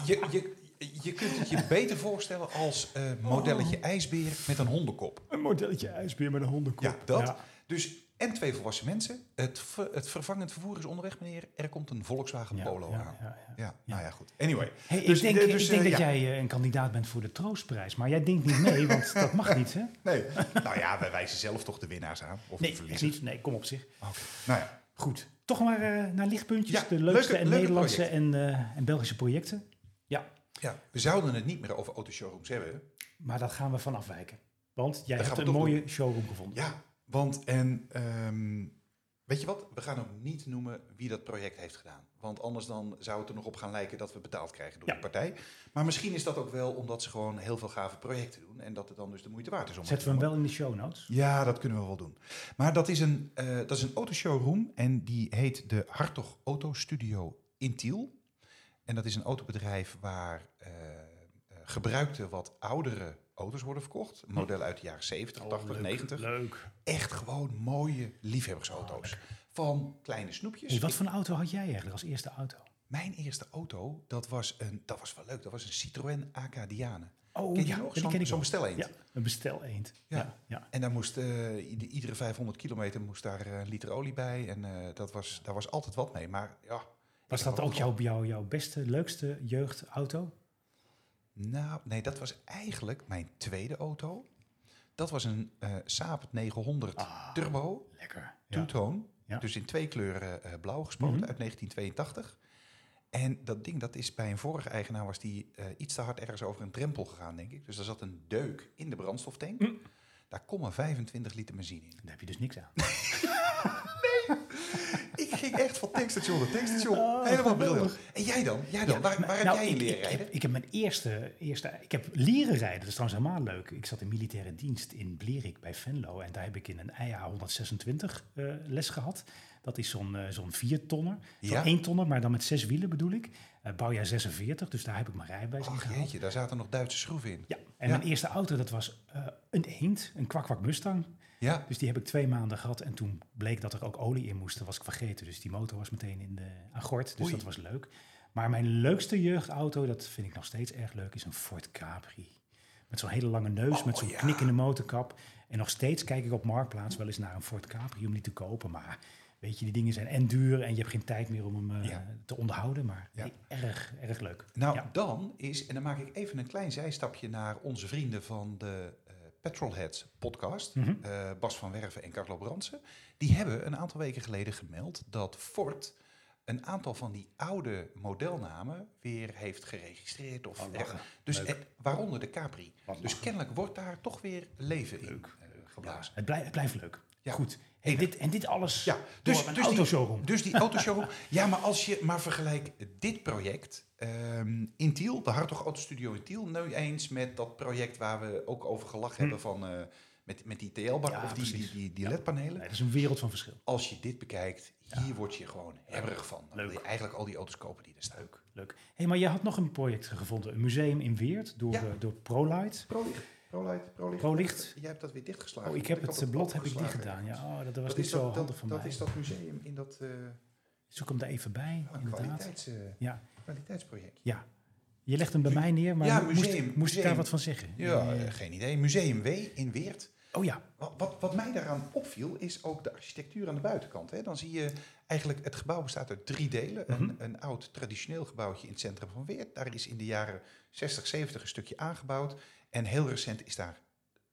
je, je, je kunt het je beter voorstellen als eh, modelletje ijsbeer met een hondenkop.
Een modelletje ijsbeer met een hondenkop.
Ja, dat. Dus, en twee volwassen mensen. Het, ver- het vervangend vervoer is onderweg, meneer. Er komt een Volkswagen
Ja,
Polo
ja,
aan. Ja,
ja, ja.
nou ja, goed. Anyway.
Hey,
Dus,
ik denk,
eh, dus,
ik denk
eh,
dat
ja.
jij eh, een kandidaat bent voor de troostprijs. Maar jij denkt niet mee, want dat mag niet,
*laughs*
hè?
Nee, nou ja, wij wijzen zelf toch de winnaars aan. Of de
Nee, echt
verliezers.
niet. Nee, kom op zich.
Oké, Nou ja.
Goed. Toch maar eh, naar lichtpuntjes.
Ja,
de leukste
leuke-
en
leuke
Nederlandse en, eh, en Belgische projecten. Ja,
Ja, we zouden het niet meer over autoshowrooms hebben.
maar dat gaan we van afwijken. Want jij
Dat gaan
hebt
we
een
toch
mooie showroom gevonden.
Ja, want en ehm, weet je wat? We gaan ook niet noemen wie dat project heeft gedaan. Want anders dan zou het er nog op gaan lijken dat we betaald krijgen door
Ja.
de partij. Maar misschien is dat ook wel omdat ze gewoon heel veel gave projecten doen. En dat het dan dus de moeite waard is om het
Zetten we
te doen.
hem wel in de show notes.
Ja, dat kunnen we wel doen. Maar dat is een, eh dat is een autoshowroom en die heet de Hartog Auto Studio in Tiel. En dat is een autobedrijf waar eh, eh, gebruikte wat oudere auto's worden verkocht. Modellen uit de jaren 70, 80, 90
Oh, Leuk.
echt gewoon mooie liefhebbersauto's. Van kleine snoepjes.
Hey, wat voor een auto had jij eigenlijk als eerste auto?
Mijn eerste auto, dat was, een, dat was wel leuk. Dat was een Citroën Acadiane.
Oh,
Ken je
ja,
die nog?
ja, die
Zo'n-
ken ik
zo'n
nog.
bestel eend.
Ja, een bestel eend.
Ja.
Ja. Ja, ja.
En daar moest eh, ieder- iedere 500 kilometer moest daar eh, een liter olie bij. En eh, dat was, daar was altijd wat mee. Maar ja.
Was
ik heb
dat ook
gewoon-
jouw, jouw, jouw beste, leukste jeugdauto?
Nou, nee, dat was eigenlijk mijn tweede auto. Dat was een eh Saab 900
Ah,
Turbo.
lekker. Ja.
Toetoon.
Ja.
Dus in twee kleuren eh, blauw gespoten
Mhm.
uit 1982. En dat ding, dat is bij een vorige eigenaar, was die eh, iets te hard ergens over een drempel gegaan, denk ik. Dus daar zat een deuk in de brandstoftank.
Mm.
Daar kon maar 25 liter benzine in.
Daar heb je dus niks aan.
Ik ging echt van tankstation naar tankstation.
Oh,
Helemaal
geweldig.
briljant. En jij dan? Jij dan? waar
maar-
waar heb
nou,
jij in
ik-
leren
ik, ik,
rijden?
heb, ik heb mijn eerste, eerste... Ik heb leren rijden. Dat is trouwens helemaal leuk. Ik zat in militaire dienst in Blerik bij Venlo. En daar heb ik in een IA 126 eh, les gehad. Dat is zo'n eh, zo'n viertonner. Zo'n
Ja.
één tonner, maar dan met zes wielen bedoel ik. Eh bouwjaar 46, dus daar heb ik mijn rijbewijs in
Ach
gehaald.
jeetje, daar zaten nog Duitse schroeven in.
Ja, en
Ja.
mijn eerste auto, dat was eh, een eend, een kwak-kwak Mustang.
Ja,
Dus die heb ik twee maanden gehad. En toen bleek dat er ook olie in moest. Dat was ik vergeten. Dus die motor was meteen in de agort. Dus
Oei.
dat was leuk. Maar mijn leukste jeugdauto, dat vind ik nog steeds erg leuk, is een Ford Capri. Met zo'n hele lange neus,
Oh,
met zo'n
ja.
knik in de motorkap. En nog steeds kijk ik op Marktplaats wel eens naar een Ford Capri om die te kopen. Maar weet je, die dingen zijn en duur en je hebt geen tijd meer om hem eh,
Ja.
te onderhouden. Maar
Ja.
erg, erg leuk.
nou
Ja.
dan is, en dan maak ik even een klein zijstapje naar onze vrienden van de eh, Petrolheads podcast.
Mhm.
eh, Bas van Werven en Carlo Brandsen. Die hebben een aantal weken geleden gemeld dat Ford een aantal van die oude modelnamen weer heeft geregistreerd. Of
Oh,
er-
lachen.
dus
Leuk.
het- waaronder de Capri.
Wat
Dus
lachen.
kennelijk wordt daar toch weer leven in
Leuk.
eh,
Ja,
geblazen.
het, blijft, het blijft leuk.
Ja.
Goed. Hey, dit, en dit alles
Ja, dus-
door een
dus die-
autoshowroom.
Dus die autoshowroom. *laughs* ja, maar als je maar vergelijkt dit project ehm, in Tiel, de Hartog Autostudio in Tiel, nu eens met dat project waar we ook over gelachen hebben van eh, met, met die TL-bak
Hm. Ja,
of die, die,
precies.
die, die
Ja.
LED-panelen.
Nee, dat is een wereld van verschil.
Als je dit bekijkt, hier word je gewoon hebberig van. Dan
Leuk.
wil je eigenlijk al die auto's kopen die er staan. Leuk.
Leuk. hey, maar jij had nog een project gevonden. Een museum in Weert door,
Ja.
eh, door ProLight.
Prolicht, prolicht, prolicht. Eh,
Prolicht?
Jij hebt dat weer dichtgeslagen.
Oh, ik heb
had
het eh, blad heb ik niet
opgeslagen
gedaan. Ja,
ergens.
oh, dat was
Dat
niet
is
zo
dat,
handig
dat,
van
dat
mij.
is dat museum in dat eh, nou,
Zoek hem daar even bij,
een
inderdaad.
kwaliteits, eh,
Ja.
kwaliteitsproject.
ja. Je legt hem bij mij neer, maar
Ja,
mo- moest,
museum,
moest
museum.
ik daar wat van zeggen?
Ja,
Eh,
eh, geen idee. Museum W in Weert.
oh ja,
Wat, wat, wat mij daaraan opviel, is ook de architectuur aan de buitenkant. Hè. Dan zie je eigenlijk, het gebouw bestaat uit drie delen.
Mhm.
Een, een oud traditioneel gebouwtje in het centrum van Weert. Daar is in de jaren 60, 70 een stukje aangebouwd. En heel recent is daar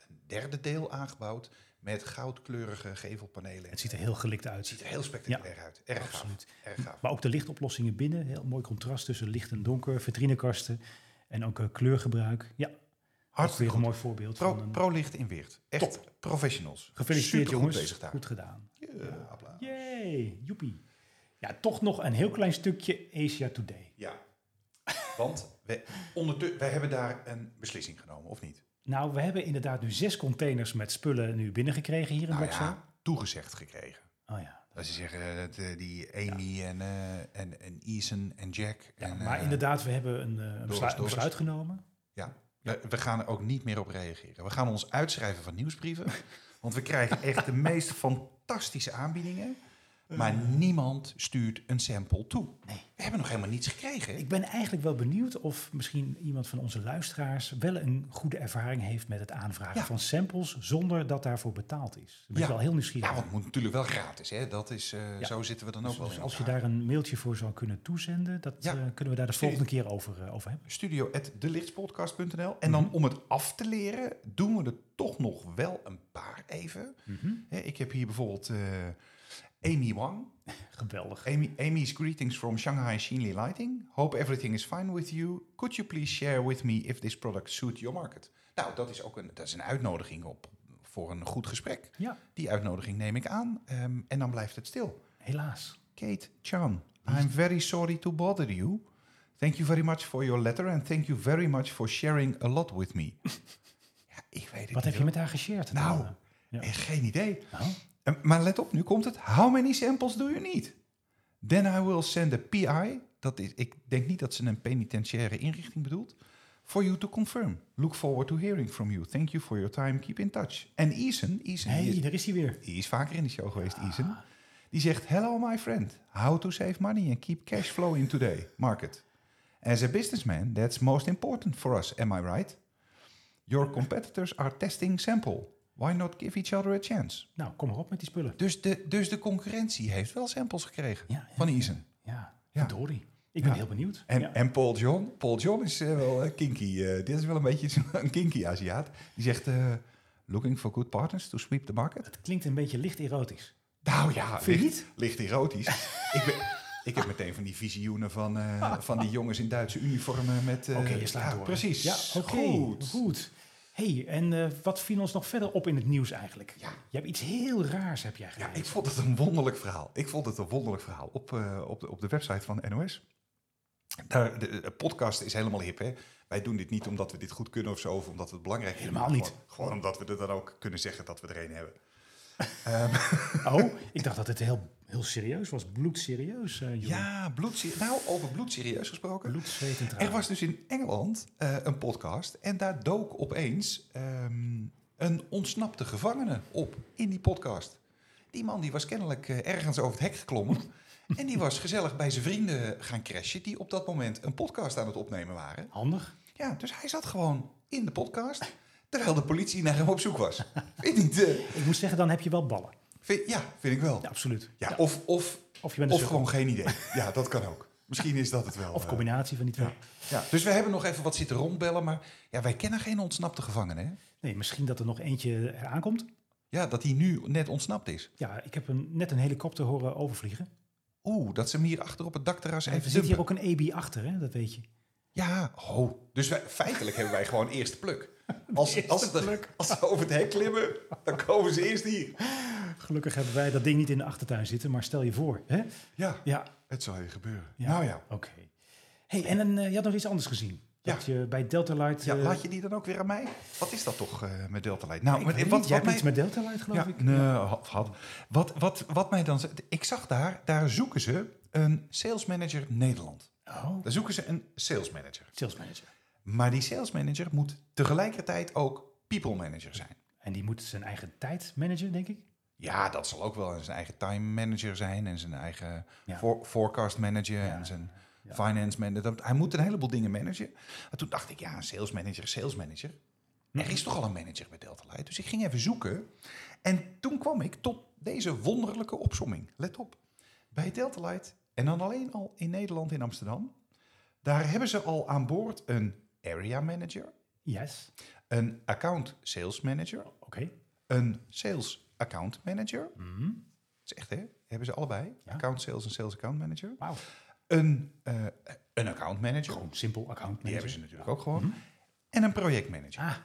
een derde deel aangebouwd met goudkleurige gevelpanelen.
het ziet er heel gelikt uit.
ziet er heel spectaculair uit. Erg
Absoluut.
gaaf. Erg gaaf.
Maar ook de lichtoplossingen binnen. Heel mooi contrast tussen licht en donker. Vitrinekasten. En ook eh, kleurgebruik. Ja, dat is weer
Hartstikke
een
goed.
mooi voorbeeld
Pro,
van een...
Prolicht in Weert. Echt professionals.
Gefeliciteerd
Supergoed
jongens.
bezig daar.
Goed gedaan.
Ja, applaus.
Yay, joepie. Ja, toch nog een heel klein stukje Asia Today.
Ja. Want wij, ondertu- wij hebben daar een beslissing genomen, of niet?
Nou, we hebben inderdaad nu zes containers met spullen nu binnengekregen hier in
Nou
Blokzaal.
ja, toegezegd gekregen.
Oh ja.
Dat ze zeggen eh, dat eh, die Amy en, eh, en, en Ethan en Jack.
Ja,
en,
maar
eh,
inderdaad, we hebben een, eh, een besluit-
Doris.
besluit genomen.
we, we gaan er ook niet meer op reageren. We gaan ons uitschrijven van
*laughs*
nieuwsbrieven. want we krijgen echt de meest fantastische aanbiedingen. Maar niemand stuurt een sample toe.
Eh. Nee.
We hebben nog helemaal niets gekregen.
Ik ben eigenlijk wel benieuwd of misschien iemand van onze luisteraars wel een goede ervaring heeft met het aanvragen
Ja.
van samples zonder dat daarvoor betaald is. Daar ben ik
Ja.
wel heel nieuwsgierig.
ja, want het
naar.
moet natuurlijk wel gratis. Hè? Dat is, eh,
Ja.
Zo zitten we dan ook
Dus-
wel
dus
in
als je
elkaar.
daar een mailtje voor zou kunnen toezenden, dat
Ja.
eh, kunnen we daar de
Stuur-
volgende keer over, eh, over hebben.
studio.delichtspodcast.nl. En dan om het af te leren, doen we er toch nog wel een paar even. Hè, ik heb hier bijvoorbeeld eh, Amy Wang.
Geweldig.
Amy, Amy's greetings from Shanghai Xinli Lighting. Hope everything is fine with you. Could you please share with me if this product suits your market? Nou, dat is ook een, dat is een uitnodiging op, voor een goed gesprek.
Ja,
Die uitnodiging neem ik aan. ehm, en dan blijft het stil.
helaas.
Kate Chan, I'm very sorry to bother you. Thank you very much for your letter and thank you very much for sharing a lot with me. ja, ik weet het
Wat
niet.
heb je met haar geshared?
Nou,
dan,
hoor.
met-
Eh, Geen idee.
eh? Nou?
Eh, Maar let op, nu komt het. How many samples do you need? Then I will send a PI. Dat is, ik denk niet dat ze een penitentiaire inrichting bedoelt. For you to confirm. Look forward to hearing from you. Thank you for your time. Keep in touch. En Ethan, Ethan die
Hé,
is-
hey, daar is hij weer.
die is vaker in de show geweest, Ethan. Die zegt, hello my friend, how to save money and keep cash flow in today market. As a businessman, that's most important for us, am I right? Your competitors are testing sample. Why not give each other a chance?
Nou, kom maar op met die spullen.
Dus de, dus de concurrentie heeft wel samples gekregen
Ja, ja.
van Ethan.
Ja,
Ja.
verdorie. Ik
Ja.
ben heel benieuwd.
En,
ja.
en Paul John, Paul John is eh, wel eh, kinky. eh, dit is wel een beetje *laughs* zo'n- een kinky Aziat. Die zegt, eh, looking for good partners to sweep the market.
Het klinkt een beetje licht erotisch.
Nou ja,
Vind je
licht, licht
*laughs*
erotisch. ik, ben, ik heb meteen van die visioenen van, eh, van die jongens in Duitse uniformen met... eh,
Oh. Oké, je slaat
ja,
door.
Precies.
Ja, oké.
Goed.
Goed. hey, en eh, wat viel ons nog verder op in het nieuws eigenlijk?
Ja.
Je hebt iets heel raars heb jij
Ja,
gedaan.
ik vond het een wonderlijk verhaal. Ik vond het een wonderlijk verhaal op, eh, op, de, op de website van NOS. Daar, de, de podcast is helemaal hip, hè? Wij doen dit niet omdat we dit goed kunnen of zo, of omdat we het belangrijk vinden,
Helemaal
maar
niet.
Gewoon, gewoon omdat we er dan ook kunnen zeggen dat we er een hebben.
Oh, ik dacht dat het heel, heel serieus was. Bloedserieus, eh Jeroen.
Ja, bloedserie- nou, over bloedserieus gesproken.
Bloed, zweet en tranen.
Er was dus in Engeland eh, een podcast en daar dook opeens ehm, een ontsnapte gevangene op in die podcast. Die man die was kennelijk eh, ergens over het hek
*laughs*
geklommen en die was gezellig bij zijn vrienden gaan crashen die op dat moment een podcast aan het opnemen waren.
Handig.
Ja, dus hij zat gewoon in de podcast terwijl de politie naar hem op zoek
*laughs*
was. Vind je niet? eh,
Ik moet zeggen, dan heb je wel ballen.
vind- ja, vind ik wel.
Ja, absoluut.
Ja, of, of,
Of je bent een
of
sukkel.
gewoon geen idee. Ja, dat kan ook. Misschien is dat het wel.
Of
eh.
combinatie van die twee.
Ja, dus we hebben nog even wat zitten rondbellen, maar ja, wij kennen geen ontsnapte gevangenen. Hè?
Nee, misschien dat er nog eentje eh, eraan komt.
Ja, dat hij nu net ontsnapt is.
Ja, ik heb een, net een helikopter horen overvliegen.
Oeh, dat ze hem hier achter op het dakterras
Er
even
zit
dumpen.
hier ook een AB achter, hè? dat weet je.
Ja, ho. Dus wij, feitelijk hebben wij gewoon eerst
*laughs*
pluk. Als,
Eerste
als, de-
pluk.
als ze over het hek klimmen, dan komen ze eerst hier.
Gelukkig hebben wij dat ding niet in de achtertuin zitten, maar stel je voor. Hè?
Ja,
Ja,
het zal je gebeuren.
Ja.
Nou ja.
oké. Hey, en een, eh, je had nog iets anders gezien.
Ja.
Dat je bij Delta Light...
ja,
eh,
laat je die dan ook weer aan mij? Wat is dat toch eh, met Delta Light? Nou,
ik
maar
weet niet,
wat,
jij
wat
hebt
mij...
iets met Delta Light, geloof
Ja,
ik.
nee, had, had. Wat, wat, wat mij dan... Ik zag daar, daar zoeken ze een sales manager Nederland.
Oh,
Daar zoeken ze een sales manager.
sales manager.
Maar die sales manager moet tegelijkertijd ook people manager zijn.
En die moet zijn eigen tijd managen, denk ik.
Ja, dat zal ook wel en zijn eigen time manager zijn en zijn eigen
Ja.
voor- forecast manager en zijn finance manager. Dat- Hij moet een heleboel dingen managen. En toen dacht ik, ja, een sales manager, sales manager. Er is toch al een manager bij Delta Light. Dus ik ging even zoeken. En toen kwam ik tot deze wonderlijke opsomming. Let op. Bij Delta Light, en dan alleen al in Nederland, in Amsterdam, daar hebben ze al aan boord een area manager,
Yes,
een account sales manager,
oké.
een sales account manager.
Mhm.
Dat is echt, hè? Hebben ze allebei.
Ja.
Account sales en sales account manager.
Wauw,
Een, eh, een account manager.
gewoon simpel account
Die
manager. Mhm.
hebben ze natuurlijk ook gewoon. En een projectmanager.
Ah.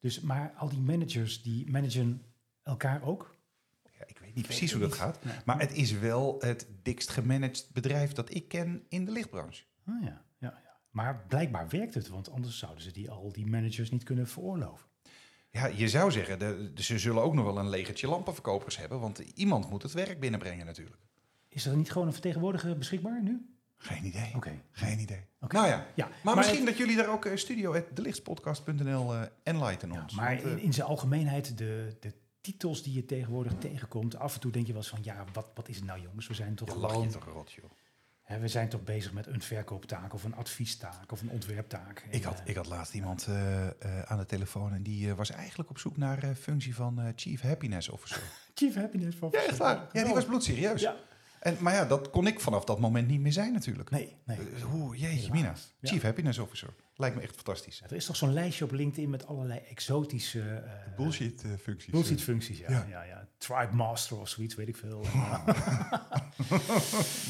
Dus, maar al die managers, die managen elkaar ook?
Ja, ik weet niet
weet
precies hoe
het
dat
niet.
gaat.
Nee.
Maar het is wel het dikst gemanaged bedrijf dat ik ken in de lichtbranche.
Ah, ja. Ja, ja. Maar blijkbaar werkt het, want anders zouden ze die, al die managers niet kunnen veroorloven.
Ja, je zou zeggen, de, de- ze zullen ook nog wel een legertje lampenverkopers hebben. Want iemand moet het werk binnenbrengen natuurlijk.
Is er niet gewoon een vertegenwoordiger beschikbaar nu?
Geen idee.
Oké.
Geen idee.
Oké.
Nou ja.
Ja,
maar,
maar
misschien dat jullie daar ook eh, studio at delichtspodcast.nl eh enlighten
Ja,
ons.
maar
Want, eh,
in, in zijn algemeenheid, de, de titels die je tegenwoordig tegenkomt, af en toe denk je wel eens van, ja, wat, wat is het nou jongens? We zijn toch
dan lach je
gewoon,
toch rot, joh.
hè, we zijn toch bezig met een verkooptaak of een adviestaak of een ontwerptaak. En,
Ik had,
eh,
ik had laatst iemand eh, eh, aan de telefoon en die eh, was eigenlijk op zoek naar eh, functie van eh, Chief Happiness Officer.
Chief Happiness Officer.
Ja, die was bloedserieus.
Ja.
En, maar ja, dat kon ik vanaf dat moment niet meer zijn natuurlijk.
Nee, nee.
Eh, Hoe, jeetje,
Helaas.
Mina.
Ja.
Chief Happiness Officer. Lijkt me echt fantastisch.
Ja, Er is toch zo'n lijstje op LinkedIn met allerlei exotische eh,
Bullshit eh, functies.
Bullshit functies, ja.
Ja.
Ja. Ja, Tribe Master of zoiets, weet ik
*laughs*
veel.
Eh,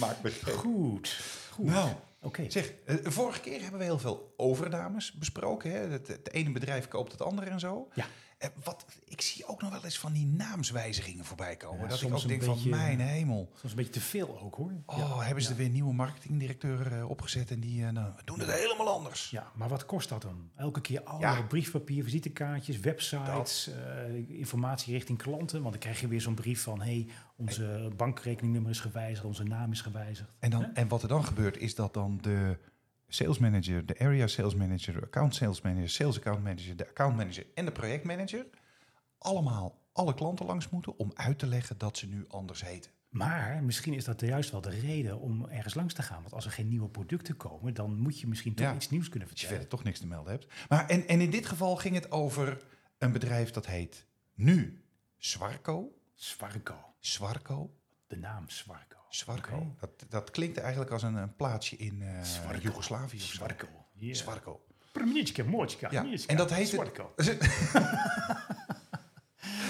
Maakt me gek.
Goed. Goed.
Nou,
Oké.
zeg, eh, vorige keer hebben we heel veel overnames besproken. Hè? Het, het ene bedrijf koopt het andere en zo.
Ja.
Eh, wat, ik zie ook nog wel eens van die naamswijzigingen voorbij komen.
Ja,
dat ik
soms
ook
een
denk van,
beetje-
mijn hemel.
Soms een beetje te veel ook, hoor.
Oh,
Ja.
hebben ze er weer een nieuwe marketingdirecteur eh, opgezet en die eh, nou, we doen het helemaal anders.
Ja, maar wat kost dat dan? Elke keer al
Ja.
briefpapier, visitekaartjes, websites, eh, informatie richting klanten. Want dan krijg je weer zo'n brief van... hey, onze bankrekeningnummer is gewijzigd, onze naam is gewijzigd.
En, dan, en wat er dan gebeurt is dat dan de sales manager, de area sales manager, de account sales manager, sales account manager, de account manager en de projectmanager allemaal alle klanten langs moeten om uit te leggen dat ze nu anders heten.
Maar misschien is dat juist wel de reden om ergens langs te gaan. Want als er geen nieuwe producten komen... dan moet je misschien toch
Ja.
iets nieuws kunnen
Als je verder
vertellen.
toch niks te melden hebt. Maar en, en in dit geval ging het over een bedrijf dat heet nu Swarco.
Swarco.
Swarco.
De naam Swarco.
Swarco.
Oké.
Dat, dat klinkt eigenlijk als een, een plaatsje in eh,
Swarco.
Joegoslavië. of zo.
Swarco. Ja. Ah,
Swarco.
Premiertje, moordje,
Ja, en dat heet het-
Swarco.
dat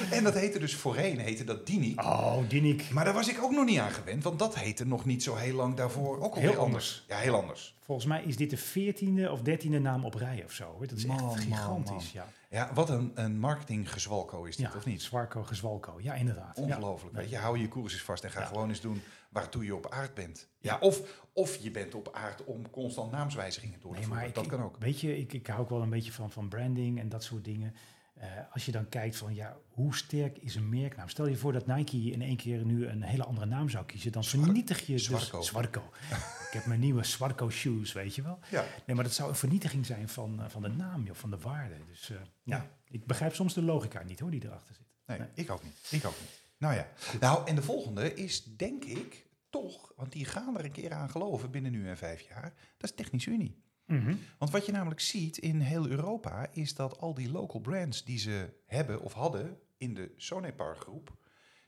*laughs* En dat heette dus voorheen, heette dat Dini.
Oh, Dinik.
Maar daar was ik ook nog niet aan gewend, want dat heette nog niet zo heel lang daarvoor ook alweer
Heel
anders. Ja, heel anders.
Volgens mij is dit de veertiende of dertiende naam op rij of zo. hoor. Dat is
Man, man,
echt gigantisch.
man.
Ja.
Ja, wat een, een marketinggezwalko is dit,
ja,
of niet?
Zwarko, gezwalko. Ja, inderdaad. Ja.
Ongelooflijk. Weet je, hou je koers eens vast en ga
Ja.
gewoon eens doen waartoe je op aard bent. Ja, of, of je bent op aard om constant naamswijzigingen door te
Nee, maar
voeren.
ik,
dat kan ook.
Weet je, ik, ik hou ook wel een beetje van, van branding en dat soort dingen. Eh, als je dan kijkt van, ja, hoe sterk is een merknaam? Stel je voor dat Nike in één keer nu een hele andere naam zou kiezen. Dan vernietig je... dus-
Zwarko. *laughs*
Zwarko. ik heb mijn nieuwe Zwarko shoes, weet je wel.
Ja.
Nee, maar dat zou een vernietiging zijn van, eh, van de naam, joh, van de waarde. Dus eh, ja.
Ja.
ik begrijp soms de logica niet, hoor, die erachter zit.
Nee,
Nee.
ik ook niet. Ik ook niet. Nou ja. Nou, en de volgende is denk ik toch, want die gaan er een keer aan geloven binnen nu en vijf jaar. Dat is Technische Unie.
Mhm.
Want wat je namelijk ziet in heel Europa is dat al die local brands die ze hebben of hadden in de Sonepar groep,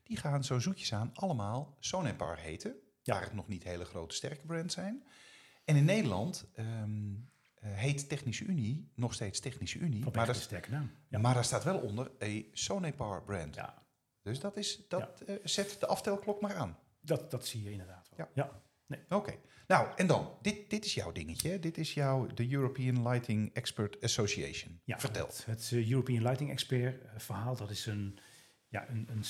die gaan zo zoetjes aan allemaal Sonepar heten,
Ja.
waar het nog niet hele grote sterke brands zijn. En in Nederland ehm, eh, heet Technische Unie nog steeds Technische Unie, maar
Maar dat
daar,
is een sterke naam. Ja.
maar daar staat wel onder een Sonepar brand.
ja.
Dus dat is, dat eh, zet de aftelklok maar aan.
Dat, dat zie je inderdaad wel.
Ja. Oké, nou en dan, dit, dit is jouw dingetje, hè? dit is jouw, de European Lighting Expert Association.
Ja,
Vertel.
Het, het, eh, European Lighting Expert eh, verhaal, dat is een, ja, een, een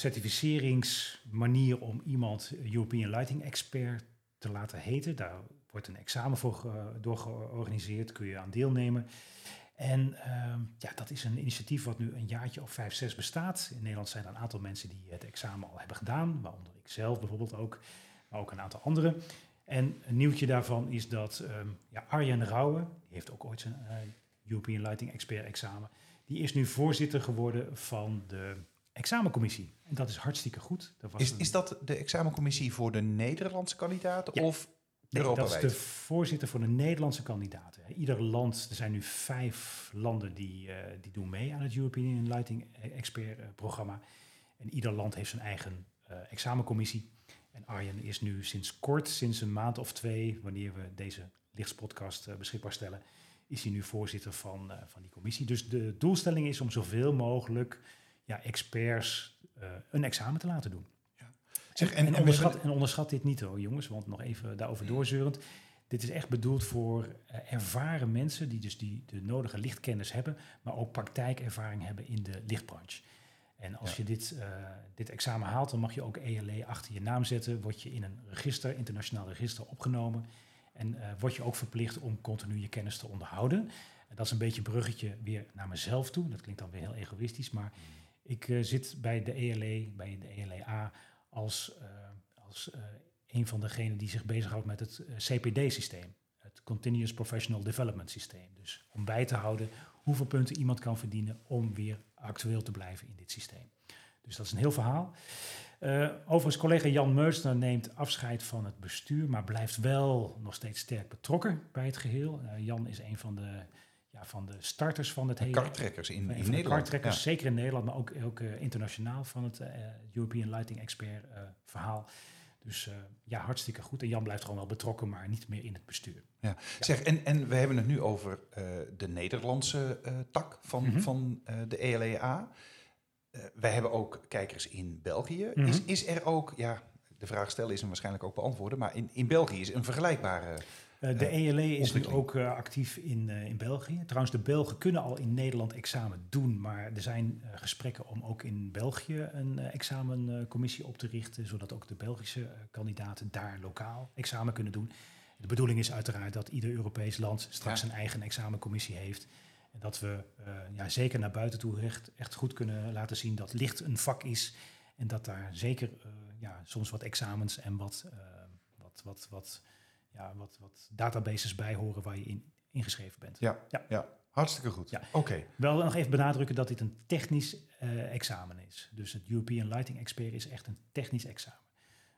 certificeringsmanier om iemand European Lighting Expert te laten heten. Daar wordt een examen voor ge- door georganiseerd, kun je aan deelnemen. En ehm, ja, dat is een initiatief wat nu een jaartje of vijf, zes bestaat. In Nederland zijn er een aantal mensen die het examen al hebben gedaan, waaronder ik zelf bijvoorbeeld ook, maar ook een aantal anderen. En een nieuwtje daarvan is dat ehm, ja, Arjen Rauwe, die heeft ook ooit zijn eh, European Lighting Expert examen. Die is nu voorzitter geworden van de examencommissie. En dat is hartstikke goed. Dat was
Is,
een-
is dat de examencommissie voor de Nederlandse kandidaten
Ja.
of
Nee,
Europa
dat is de
wijd?
voorzitter voor de Nederlandse kandidaten. Ieder land, er zijn nu vijf landen die, eh, die doen mee aan het European Lighting Expert eh, programma. En ieder land heeft zijn eigen eh, examencommissie. En Arjen is nu sinds kort, sinds een maand of twee, wanneer we deze lichtspodcast eh, beschikbaar stellen, is hij nu voorzitter van, eh, van die commissie. Dus de doelstelling is om zoveel mogelijk ja, experts eh, een examen te laten doen.
Zeg,
En,
en,
onderschat,
onderschat...
en onderschat dit niet hoor, jongens, want nog even daarover doorzeurend. Dit is echt bedoeld voor eh, ervaren mensen die dus die, de nodige lichtkennis hebben, maar ook praktijkervaring hebben in de lichtbranche. En als
Ja.
je dit, eh, dit examen haalt, dan mag je ook ELE achter je naam zetten. Word je in een register, internationaal register, opgenomen. En eh, word je ook verplicht om continu je kennis te onderhouden. En dat is een beetje een bruggetje weer naar mezelf toe. Dat klinkt dan weer heel egoïstisch, maar ik eh, zit bij de ELE, bij de E ELEA, als, eh, als eh, een van degenen die zich bezighoudt met het eh, CPD-systeem. Het Continuous Professional Development Systeem. Dus om bij te houden hoeveel punten iemand kan verdienen om weer actueel te blijven in dit systeem. Dus dat is een heel verhaal. Eh, overigens, collega Jan Meusner neemt afscheid van het bestuur, maar blijft wel nog steeds sterk betrokken bij het geheel. Eh, Jan is een van de, ja, van de starters van het hele
Kartrekkers in,
een
in
van de
Nederland.
kartrekkers,
Ja.
zeker in Nederland, maar ook, ook eh, internationaal van het eh, European Lighting Expert eh, verhaal. Dus eh, ja, hartstikke goed. En Jan blijft gewoon wel betrokken, maar niet meer in het bestuur.
Ja. Zeg, en, en we hebben het nu over eh, de Nederlandse eh, tak van,
Mhm.
van eh, de ELEA. Eh, wij hebben ook kijkers in België.
Mhm.
is, is er ook, ja, de vraag stellen is hem waarschijnlijk ook beantwoorden, maar in, in België is een vergelijkbare.
Eh, de ELE is nu
ontwikkeling.
ook eh, actief in, eh, in België. Trouwens, de Belgen kunnen al in Nederland examen doen, maar er zijn eh, gesprekken om ook in België een eh, examencommissie eh, op te richten, zodat ook de Belgische eh, kandidaten daar lokaal examen kunnen doen. De bedoeling is uiteraard dat ieder Europees land straks
Ja.
een eigen examencommissie heeft. En dat we eh, ja, zeker naar buiten toe echt, echt goed kunnen laten zien dat licht een vak is. En dat daar zeker eh, ja, soms wat examens en wat, eh, wat, wat, wat, ja, wat, wat databases bij horen waar je in ingeschreven bent.
Ja, ja.
Ja.
hartstikke goed.
Ja.
Oké.
Wel nog even benadrukken dat dit een technisch eh, examen is. Dus het European Lighting Expert is echt een technisch examen.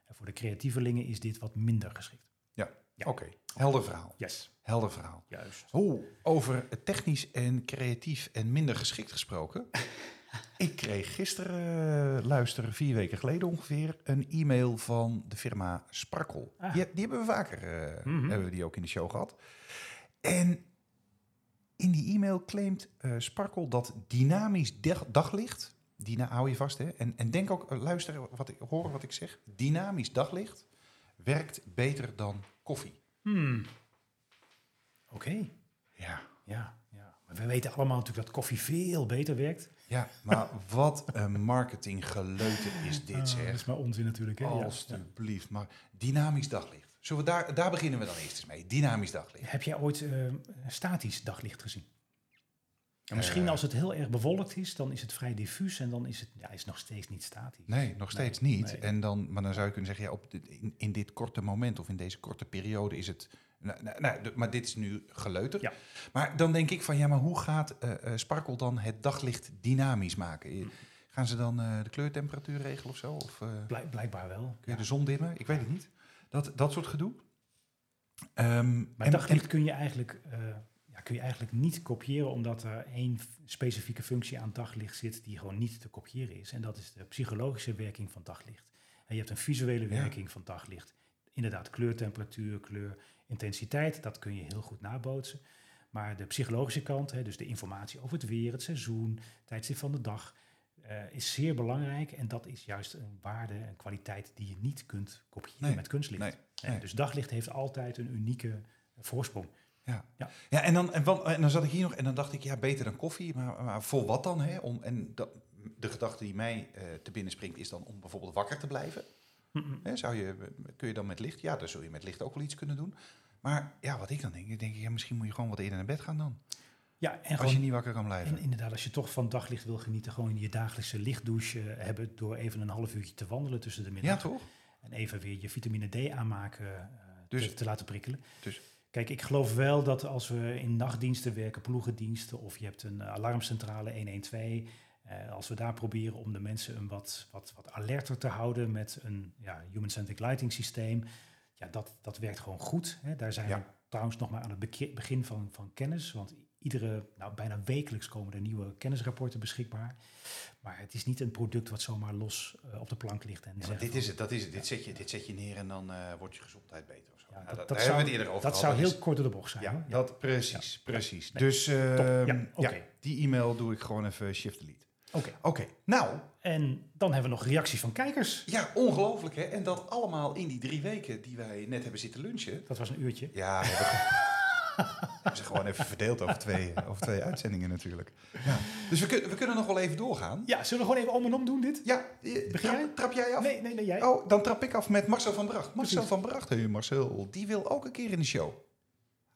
En voor de creatievelingen is dit wat minder geschikt. Ja.
Oké, helder verhaal.
Yes,
Helder verhaal.
juist.
Hoe over technisch en creatief en minder geschikt
*laughs*
gesproken. ik kreeg gisteren, eh, luister, vier weken geleden ongeveer, een e-mail van de firma Sparkle.
Ah.
Die, die hebben we vaker, eh,
Mhm.
hebben we die ook in de show gehad. En in die e-mail claimt eh Sparkle dat dynamisch dag- daglicht Dina, hou je vast. Hè? En, en denk ook, eh, luisteren, wat ik, horen wat ik zeg. Dynamisch daglicht werkt beter dan koffie.
Hmm. Oké.
Ja.
Ja, ja. Maar we weten allemaal natuurlijk dat koffie veel beter werkt.
Ja, maar wat een marketinggeleuter is dit,
Ah, dat is
zeg.
maar onzin natuurlijk. Hè? Ja, ja.
Alsjeblieft. Maar dynamisch daglicht. Zullen we daar, daar beginnen we dan eerst eens mee. Dynamisch daglicht.
Heb jij ooit eh, statisch daglicht gezien? En misschien
Eh.
als het heel erg bewolkt is, dan is het vrij diffuus en dan is het, ja, is het nog steeds niet statisch.
Nee, nog steeds niet.
nee.
En dan, maar dan zou je kunnen zeggen, ja, op dit- in, in dit korte moment of in deze korte periode is het... Nou, nou, nou, d- maar dit is nu geleuter.
Ja.
Maar dan denk ik van, ja, maar hoe gaat eh eh, Sparkle dan het daglicht dynamisch maken? Eh, Gaan ze dan eh, de kleurtemperatuur regelen of zo? Of, eh,
Blijk- blijkbaar wel.
Kun je dus de zon dimmen? Ik weet het niet. Dat, dat soort gedoe. Ehm,
Maar
en-
daglicht kun, je eigenlijk, eh, ja, kun je eigenlijk niet kopiëren, omdat er één f- specifieke functie aan daglicht zit die gewoon niet te kopiëren is. En dat is de psychologische werking van daglicht. En je hebt een visuele
Ja.
werking van daglicht. Inderdaad, kleur, temperatuur, kleur, intensiteit, dat kun je heel goed nabootsen. Maar de psychologische kant, hè, dus de informatie over het weer, het seizoen, tijdstip van de dag, eh, is zeer belangrijk. En dat is juist een waarde, een kwaliteit die je niet kunt kopiëren
Nee,
met kunstlicht.
nee,
Hè,
nee.
Dus daglicht heeft altijd een unieke eh, voorsprong.
Ja, en dan, en, wel- en dan zat ik hier nog en dan dacht ik, ja, beter dan koffie, maar, maar voor wat dan? Hè? Om, en dat, de gedachte die mij eh, te binnen springt is dan om bijvoorbeeld wakker te blijven.
Mm-mm.
Hè, zou je, kun je dan met licht? Ja, dan zul je met licht ook wel iets kunnen doen. Maar ja, wat ik dan denk, ik denk ja, misschien moet je gewoon wat eerder naar bed gaan dan.
Ja, en,
als je
gewoon,
niet wakker kan blijven.
en inderdaad, als je toch van daglicht wil genieten, gewoon je dagelijkse lichtdouche eh, hebben door even een half uurtje te wandelen tussen de middag.
ja, toch?
En even weer je vitamine D aanmaken eh,
Dus-
te, te laten prikkelen.
dus-
Kijk, ik geloof wel dat als we in nachtdiensten werken, ploegendiensten of je hebt een eh, alarmcentrale 112, eh, als we daar proberen om de mensen een wat, wat, wat alerter te houden met een ja, human-centric lighting systeem, ja, dat, dat werkt gewoon goed. Hè. Daar zijn
Ja.
we trouwens nog maar aan het beke- begin van, van kennis, want iedere, nou, bijna wekelijks komen er nieuwe kennisrapporten beschikbaar. Maar het is niet een product wat zomaar los eh, op de plank ligt. En
Ja,
zegt
want dit
van-
is het, dat is het. Dit zet je, dit zet je neer en dan eh, wordt je gezondheid beter. Of zo.
ja,
Nou,
dat,
dat-
dat
daar
zou,
hebben we het eerder over
dat
gehad.
zou
is-
heel kort door de bocht zijn.
Ja,
hoor. Ja.
dat precies, precies.
Nee,
Dus ehm, ja,
oké.
die e-mail doe ik gewoon even shift delete.
Oké.
Oké, nou,
En dan hebben we nog reacties van kijkers.
ja, ongelooflijk hè. En dat allemaal in die drie weken die wij net hebben zitten lunchen.
Dat was een uurtje.
Ja, we hebben,
*laughs*
we hebben ze gewoon even verdeeld over twee, over twee uitzendingen natuurlijk. Ja. Dus we, kun- we kunnen nog wel even doorgaan.
Ja, zullen we gewoon even om en om doen dit?
Ja, eh,
Begin jij?
trap, trap jij af?
Nee, nee, nee, jij.
Oh, dan trap ik af met Marcel van Bracht. Marcel
Precies.
van Bracht, hé Marcel, die wil ook een keer in de show.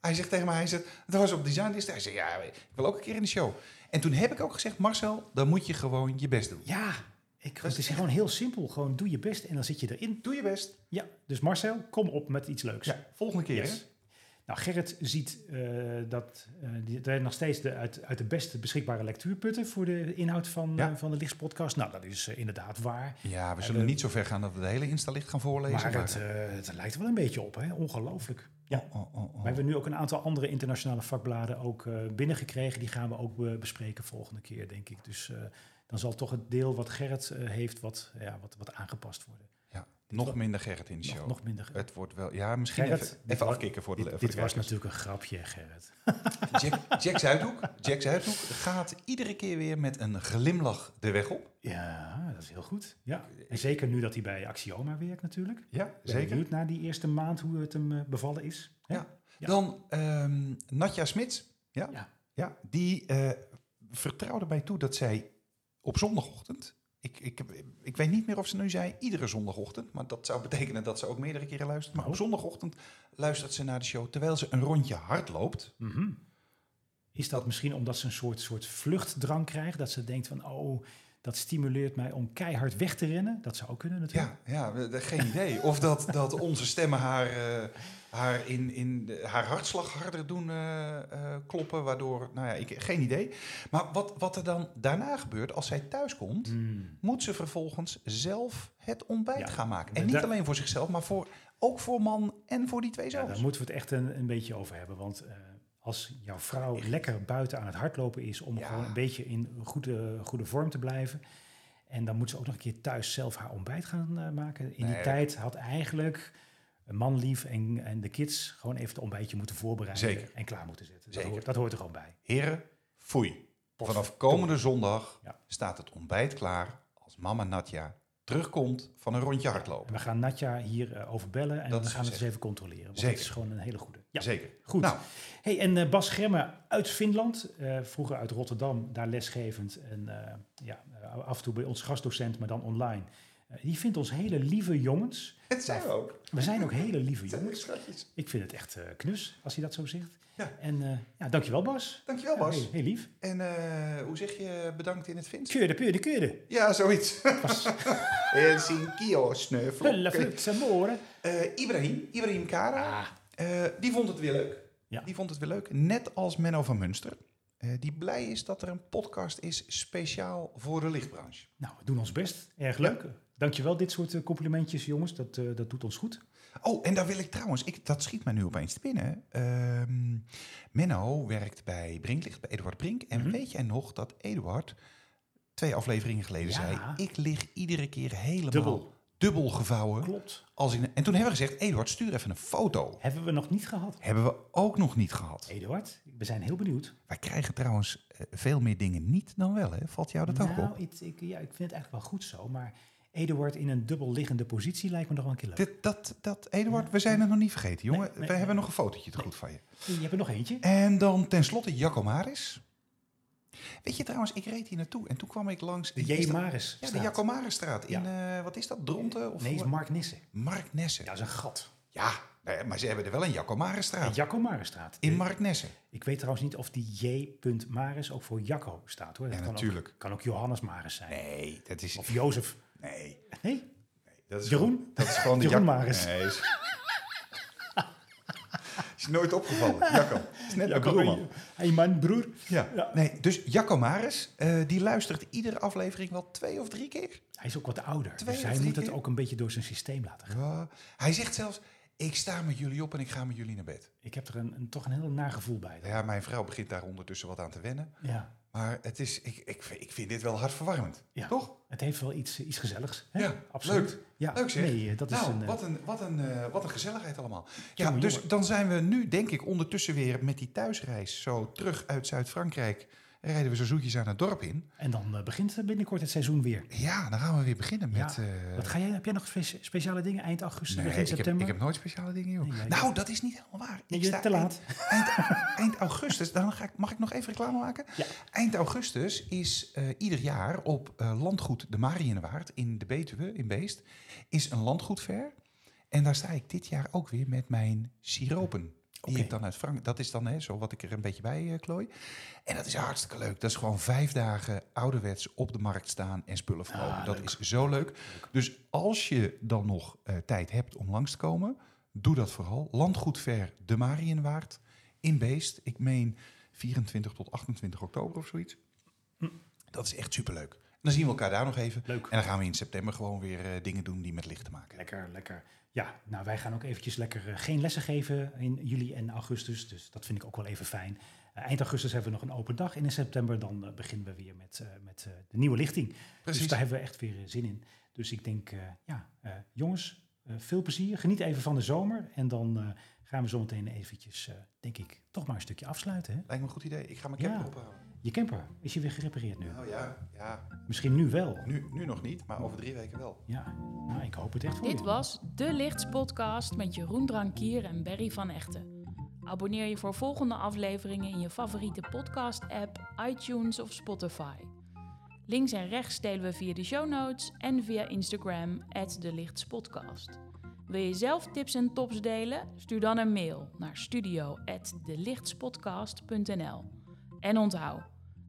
Hij zegt tegen mij, hij zegt, dat was op designlist. Hij zegt, ja, ik wil ook een keer in de show. En toen heb ik ook gezegd, Marcel, dan moet je gewoon je best doen.
Ja, ik,
is
het is gewoon heel simpel. Gewoon doe je best en dan zit je erin.
Doe je best.
Ja, dus Marcel, kom op met iets leuks.
Ja, volgende keer.
Yes. Nou, Gerrit ziet eh, dat eh, die- er nog steeds de, uit, uit de beste beschikbare lectuurputten voor de inhoud van,
Ja.
eh, van de Lichtspodcast. Nou, dat is eh, inderdaad waar.
Hè? Ja, we
Ja,
zullen
we-
niet zo ver gaan dat we de hele Insta-licht gaan voorlezen.
Maar het, eh, het lijkt er wel een beetje op, hè? Ongelooflijk. Ja.
Oh, oh, oh, oh.
We hebben nu ook een aantal andere internationale vakbladen ook eh, binnengekregen. Die gaan we ook eh, bespreken volgende keer, denk ik. Dus eh, dan zal toch het deel wat Gerrit eh, heeft, wat, ja, wat, wat aangepast worden.
Ja, nog
was-
minder Gerrit in de
Nog,
show.
nog minder. Gerrit,
Het wordt wel... Ja, misschien even,
dit
even
wa-
afkicken voor de,
dit,
voor de
dit was
kijkers.
natuurlijk een grapje, Gerrit.
Jack, Jack Zuidhoek. Jack Zuidhoek gaat iedere keer weer met een glimlach de weg op.
Ja, dat is heel goed. Ja. En zeker nu dat hij bij Axioma werkt natuurlijk. Ik
Ja,
ben benieuwd na die eerste maand hoe het hem eh, bevallen is. Hè?
Ja.
Ja.
Dan ehm, Natja Smits. Ja.
Ja.
Ja, die eh, vertrouwde mij toe dat zij op zondagochtend. Ik, ik, ik weet niet meer of ze nu zei iedere zondagochtend. Maar dat zou betekenen dat ze ook meerdere keren luistert.
Oh.
Maar op zondagochtend luistert ze naar de show terwijl ze een rondje hard loopt.
Mhm. Is dat misschien omdat ze een soort, soort vluchtdrang krijgt? Dat ze denkt van, oh, dat stimuleert mij om keihard weg te rennen. Dat zou ook kunnen natuurlijk.
Ja, ja we- de- geen idee. Of dat, *laughs* dat onze stemmen haar, eh, haar, in, in de- haar hartslag harder doen eh, eh, kloppen. Waardoor, nou ja, ik, geen idee. Maar wat, wat er dan daarna gebeurt als zij thuis komt.
Hmm.
moet ze vervolgens zelf het ontbijt
Ja,
gaan maken.
maar
En niet
daar-
alleen voor zichzelf, maar voor, ook voor man en voor die twee
Ja,
zoons.
daar moeten we het echt een, een beetje over hebben. Want eh, als jouw vrouw lekker buiten aan het hardlopen is om
Ja.
gewoon een beetje in goede, goede vorm te blijven. En dan moet ze ook nog een keer thuis zelf haar ontbijt gaan eh, maken. In
Nee.
die tijd had eigenlijk een manlief en, en de kids gewoon even het ontbijtje moeten voorbereiden
Zeker.
en klaar moeten zetten. Dat
Zeker.
hoort, dat hoort er gewoon bij.
Heren, foei. Vanaf komende zondag
Ja.
staat het ontbijt klaar als mama Natja terugkomt van een rondje hardlopen.
En we gaan Natja hierover over bellen en
Dat
we
is
gaan het eens
gezegd.
even controleren. Want
Zeker.
het is gewoon een hele goede. Ja,
Zeker.
goed.
Nou,
Hey, en eh, Bas Germe uit Finland, eh, vroeger uit Rotterdam, daar lesgevend en eh, ja, eh, af en toe bij ons gastdocent, maar dan online. Eh, die vindt ons hele lieve jongens.
het zijn we ook.
We zijn ook hele lieve
Het zijn
jongens.
echt schatjes.
Ik vind het echt eh, knus als hij dat zo zegt.
Ja.
En eh ja, dankjewel Bas.
Dankjewel Bas.
Ja, heel, heel lief.
En eh, hoe zeg je bedankt in het Fins?
Keurde, keurde, keurde.
Ja,
*laughs*
zoiets. *laughs* Helsinki, oh,
Pulla,
sneuvel.
flut, moren.
Eh, Ibrahim, Ibrahim Kara.
Ah,
Eh, die vond het weer leuk.
Ja.
Die vond het weer leuk. Net als Menno van Munster. eh, die blij is dat er een podcast is speciaal voor de lichtbranche.
nou, we doen ons best. Erg leuk. Dankjewel, dit soort eh, complimentjes jongens. Dat, eh, dat doet ons goed.
Oh, en daar wil ik trouwens, ik, dat schiet mij nu opeens te binnen. Ehm, Menno werkt bij Brinklicht, bij Eduard Brink. En
Mhm.
weet jij nog dat Eduard twee afleveringen geleden
Ja.
zei... ik lig iedere keer helemaal
Dubbel.
dubbel, gevouwen.
Klopt.
Als in, en toen hebben we gezegd, Eduard, stuur even een foto.
Hebben we nog niet gehad.
Hebben we ook nog niet gehad.
Eduard, we zijn heel benieuwd.
Wij krijgen trouwens eh, veel meer dingen niet dan wel, hè? Valt jou dat ook
nou,
op?
het- ik, ja, ik vind het eigenlijk wel goed zo, maar Eduard in een dubbel liggende positie lijkt me nog wel een keer leuk.
Dit, dat, dat, Eduard, we zijn het nog niet vergeten, jongen.
Nee, nee,
we hebben
nee.
nog een fotootje te goed van je.
Je hebt er nog eentje.
En dan tenslotte Jacco Maris. Weet je trouwens, ik reed hier naartoe en toen kwam ik langs...
De
is
J.
dat-
Maris.
Ja, de
staat.
Jacco Marisstraat. In, eh, wat is dat, Dronten? Of
Nee, is
hoe-
Mark Nissen.
Mark Nessen.
Ja,
Ja,
dat is een gat.
nou ja, maar ze hebben er wel een Jacco
De
Marisstraat.
Jacco Marisstraat.
in Mark Nessen.
Ik weet trouwens niet of die J. Maris ook voor Jacco staat hoor. Dat
Ja,
kan
natuurlijk.
Ook, kan ook Johannes Maris zijn.
Nee, dat is...
Of Jozef.
Nee.
Nee,
Dat is
Jeroen?
gewoon- dat is gewoon de
Jeroen
Jac-
Maris.
Nee, is... *laughs* is nooit opgevallen, Jacco. Is net een broer, man.
Hey man, broer.
Ja.
Ja.
Nee, dus Jacco Maris, eh, die luistert iedere aflevering wel twee of drie keer.
Hij is ook wat ouder.
Twee
dus
of
hij
drie
moet het
keer?
ook een beetje door zijn systeem laten gaan.
Ja. Hij zegt zelfs, ik sta met jullie op en ik ga met jullie naar bed.
Ik heb er een, een- toch een heel naar gevoel bij.
Ja, mijn vrouw begint daar ondertussen wat aan te wennen.
Ja.
Maar het is, ik, ik, ik vind dit wel hartverwarmend.
Ja.
Toch?
Het heeft wel iets, eh, iets gezelligs. Hè?
Ja,
absoluut.
leuk.
Ja,
Leuk zeg.
Nee, eh, dat is
nou,
een, eh,
wat, een, wat, een, eh, wat een gezelligheid allemaal. Ja,
Jongen,
dus
jongen.
dan zijn we nu, denk ik, ondertussen weer met die thuisreis zo terug uit Zuid-Frankrijk. Rijden we zo zoetjes aan het dorp in.
En dan eh, begint eh, binnenkort het seizoen weer.
Ja, dan gaan we weer beginnen met...
Ja,
eh,
Wat ga jij, heb jij nog spe- speciale dingen eind augustus,
Nee,
begin
ik heb,
september?
ik heb nooit speciale dingen, joh.
Nee, jij-
nou, dat is niet helemaal waar.
Nee,
Ik
je
sta
bent te
*laughs*
laat.
Eind, eind- eind augustus, dan ga ik, mag ik nog even reclame maken?
Ja.
Eind augustus is eh, ieder jaar op eh, landgoed de Marienwaard in de Betuwe, in Beest, is een landgoedver. En daar sta ik dit jaar ook weer met mijn siropen. Die
Oké.
ik dan uit Frank, dat is dan hè, zo wat ik er een beetje bij eh, klooi. En dat is hartstikke leuk. Dat is gewoon vijf dagen ouderwets op de markt staan en spullen verkopen.
Ah,
dat
leuk.
is zo leuk. Dus als je dan nog eh, tijd hebt om langs te komen, doe dat vooral. Landgoed Ver de Marienwaard in Beest. Ik meen 24 tot 28 oktober of zoiets.
Hm.
Dat is echt superleuk. En dan zien we elkaar daar nog even.
Leuk.
En dan gaan we in september gewoon weer eh, dingen doen die met licht te maken hebben.
Lekker, lekker. Ja, nou wij gaan ook eventjes lekker eh, geen lessen geven in juli en augustus. Dus dat vind ik ook wel even fijn. Eh, eind augustus hebben we nog een open dag. En in september dan eh, beginnen we weer met, eh, met eh, de nieuwe lichting.
Precies.
Dus daar hebben we echt weer eh, zin in. Dus ik denk, eh, ja, eh, jongens, eh, veel plezier. Geniet even van de zomer. En dan eh, gaan we zometeen eventjes, eh, denk ik, toch maar een stukje afsluiten. Hè?
Lijkt me een goed idee. Ik ga mijn
Ja.
camper ophalen.
Je camper, is je weer gerepareerd nu?
Nou ja, ja.
Misschien nu wel.
Nu, nu nog niet, maar over drie weken wel.
Ja, nou, ik hoop het echt voor
Dit
je.
was De Lichts Podcast met Jeroen Drankier en Berry van Echten. Abonneer je voor volgende afleveringen in je favoriete podcast-app, iTunes of Spotify. Links en rechts delen we via de show notes en via Instagram, De Lichts Podcast. Wil je zelf tips en tops delen? Stuur dan een mail naar studio.delichtspodcast.nl. En onthoud,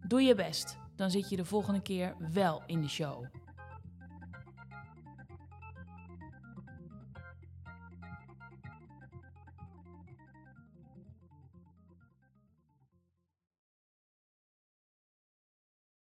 doe je best, dan zit je de volgende keer wel in de show.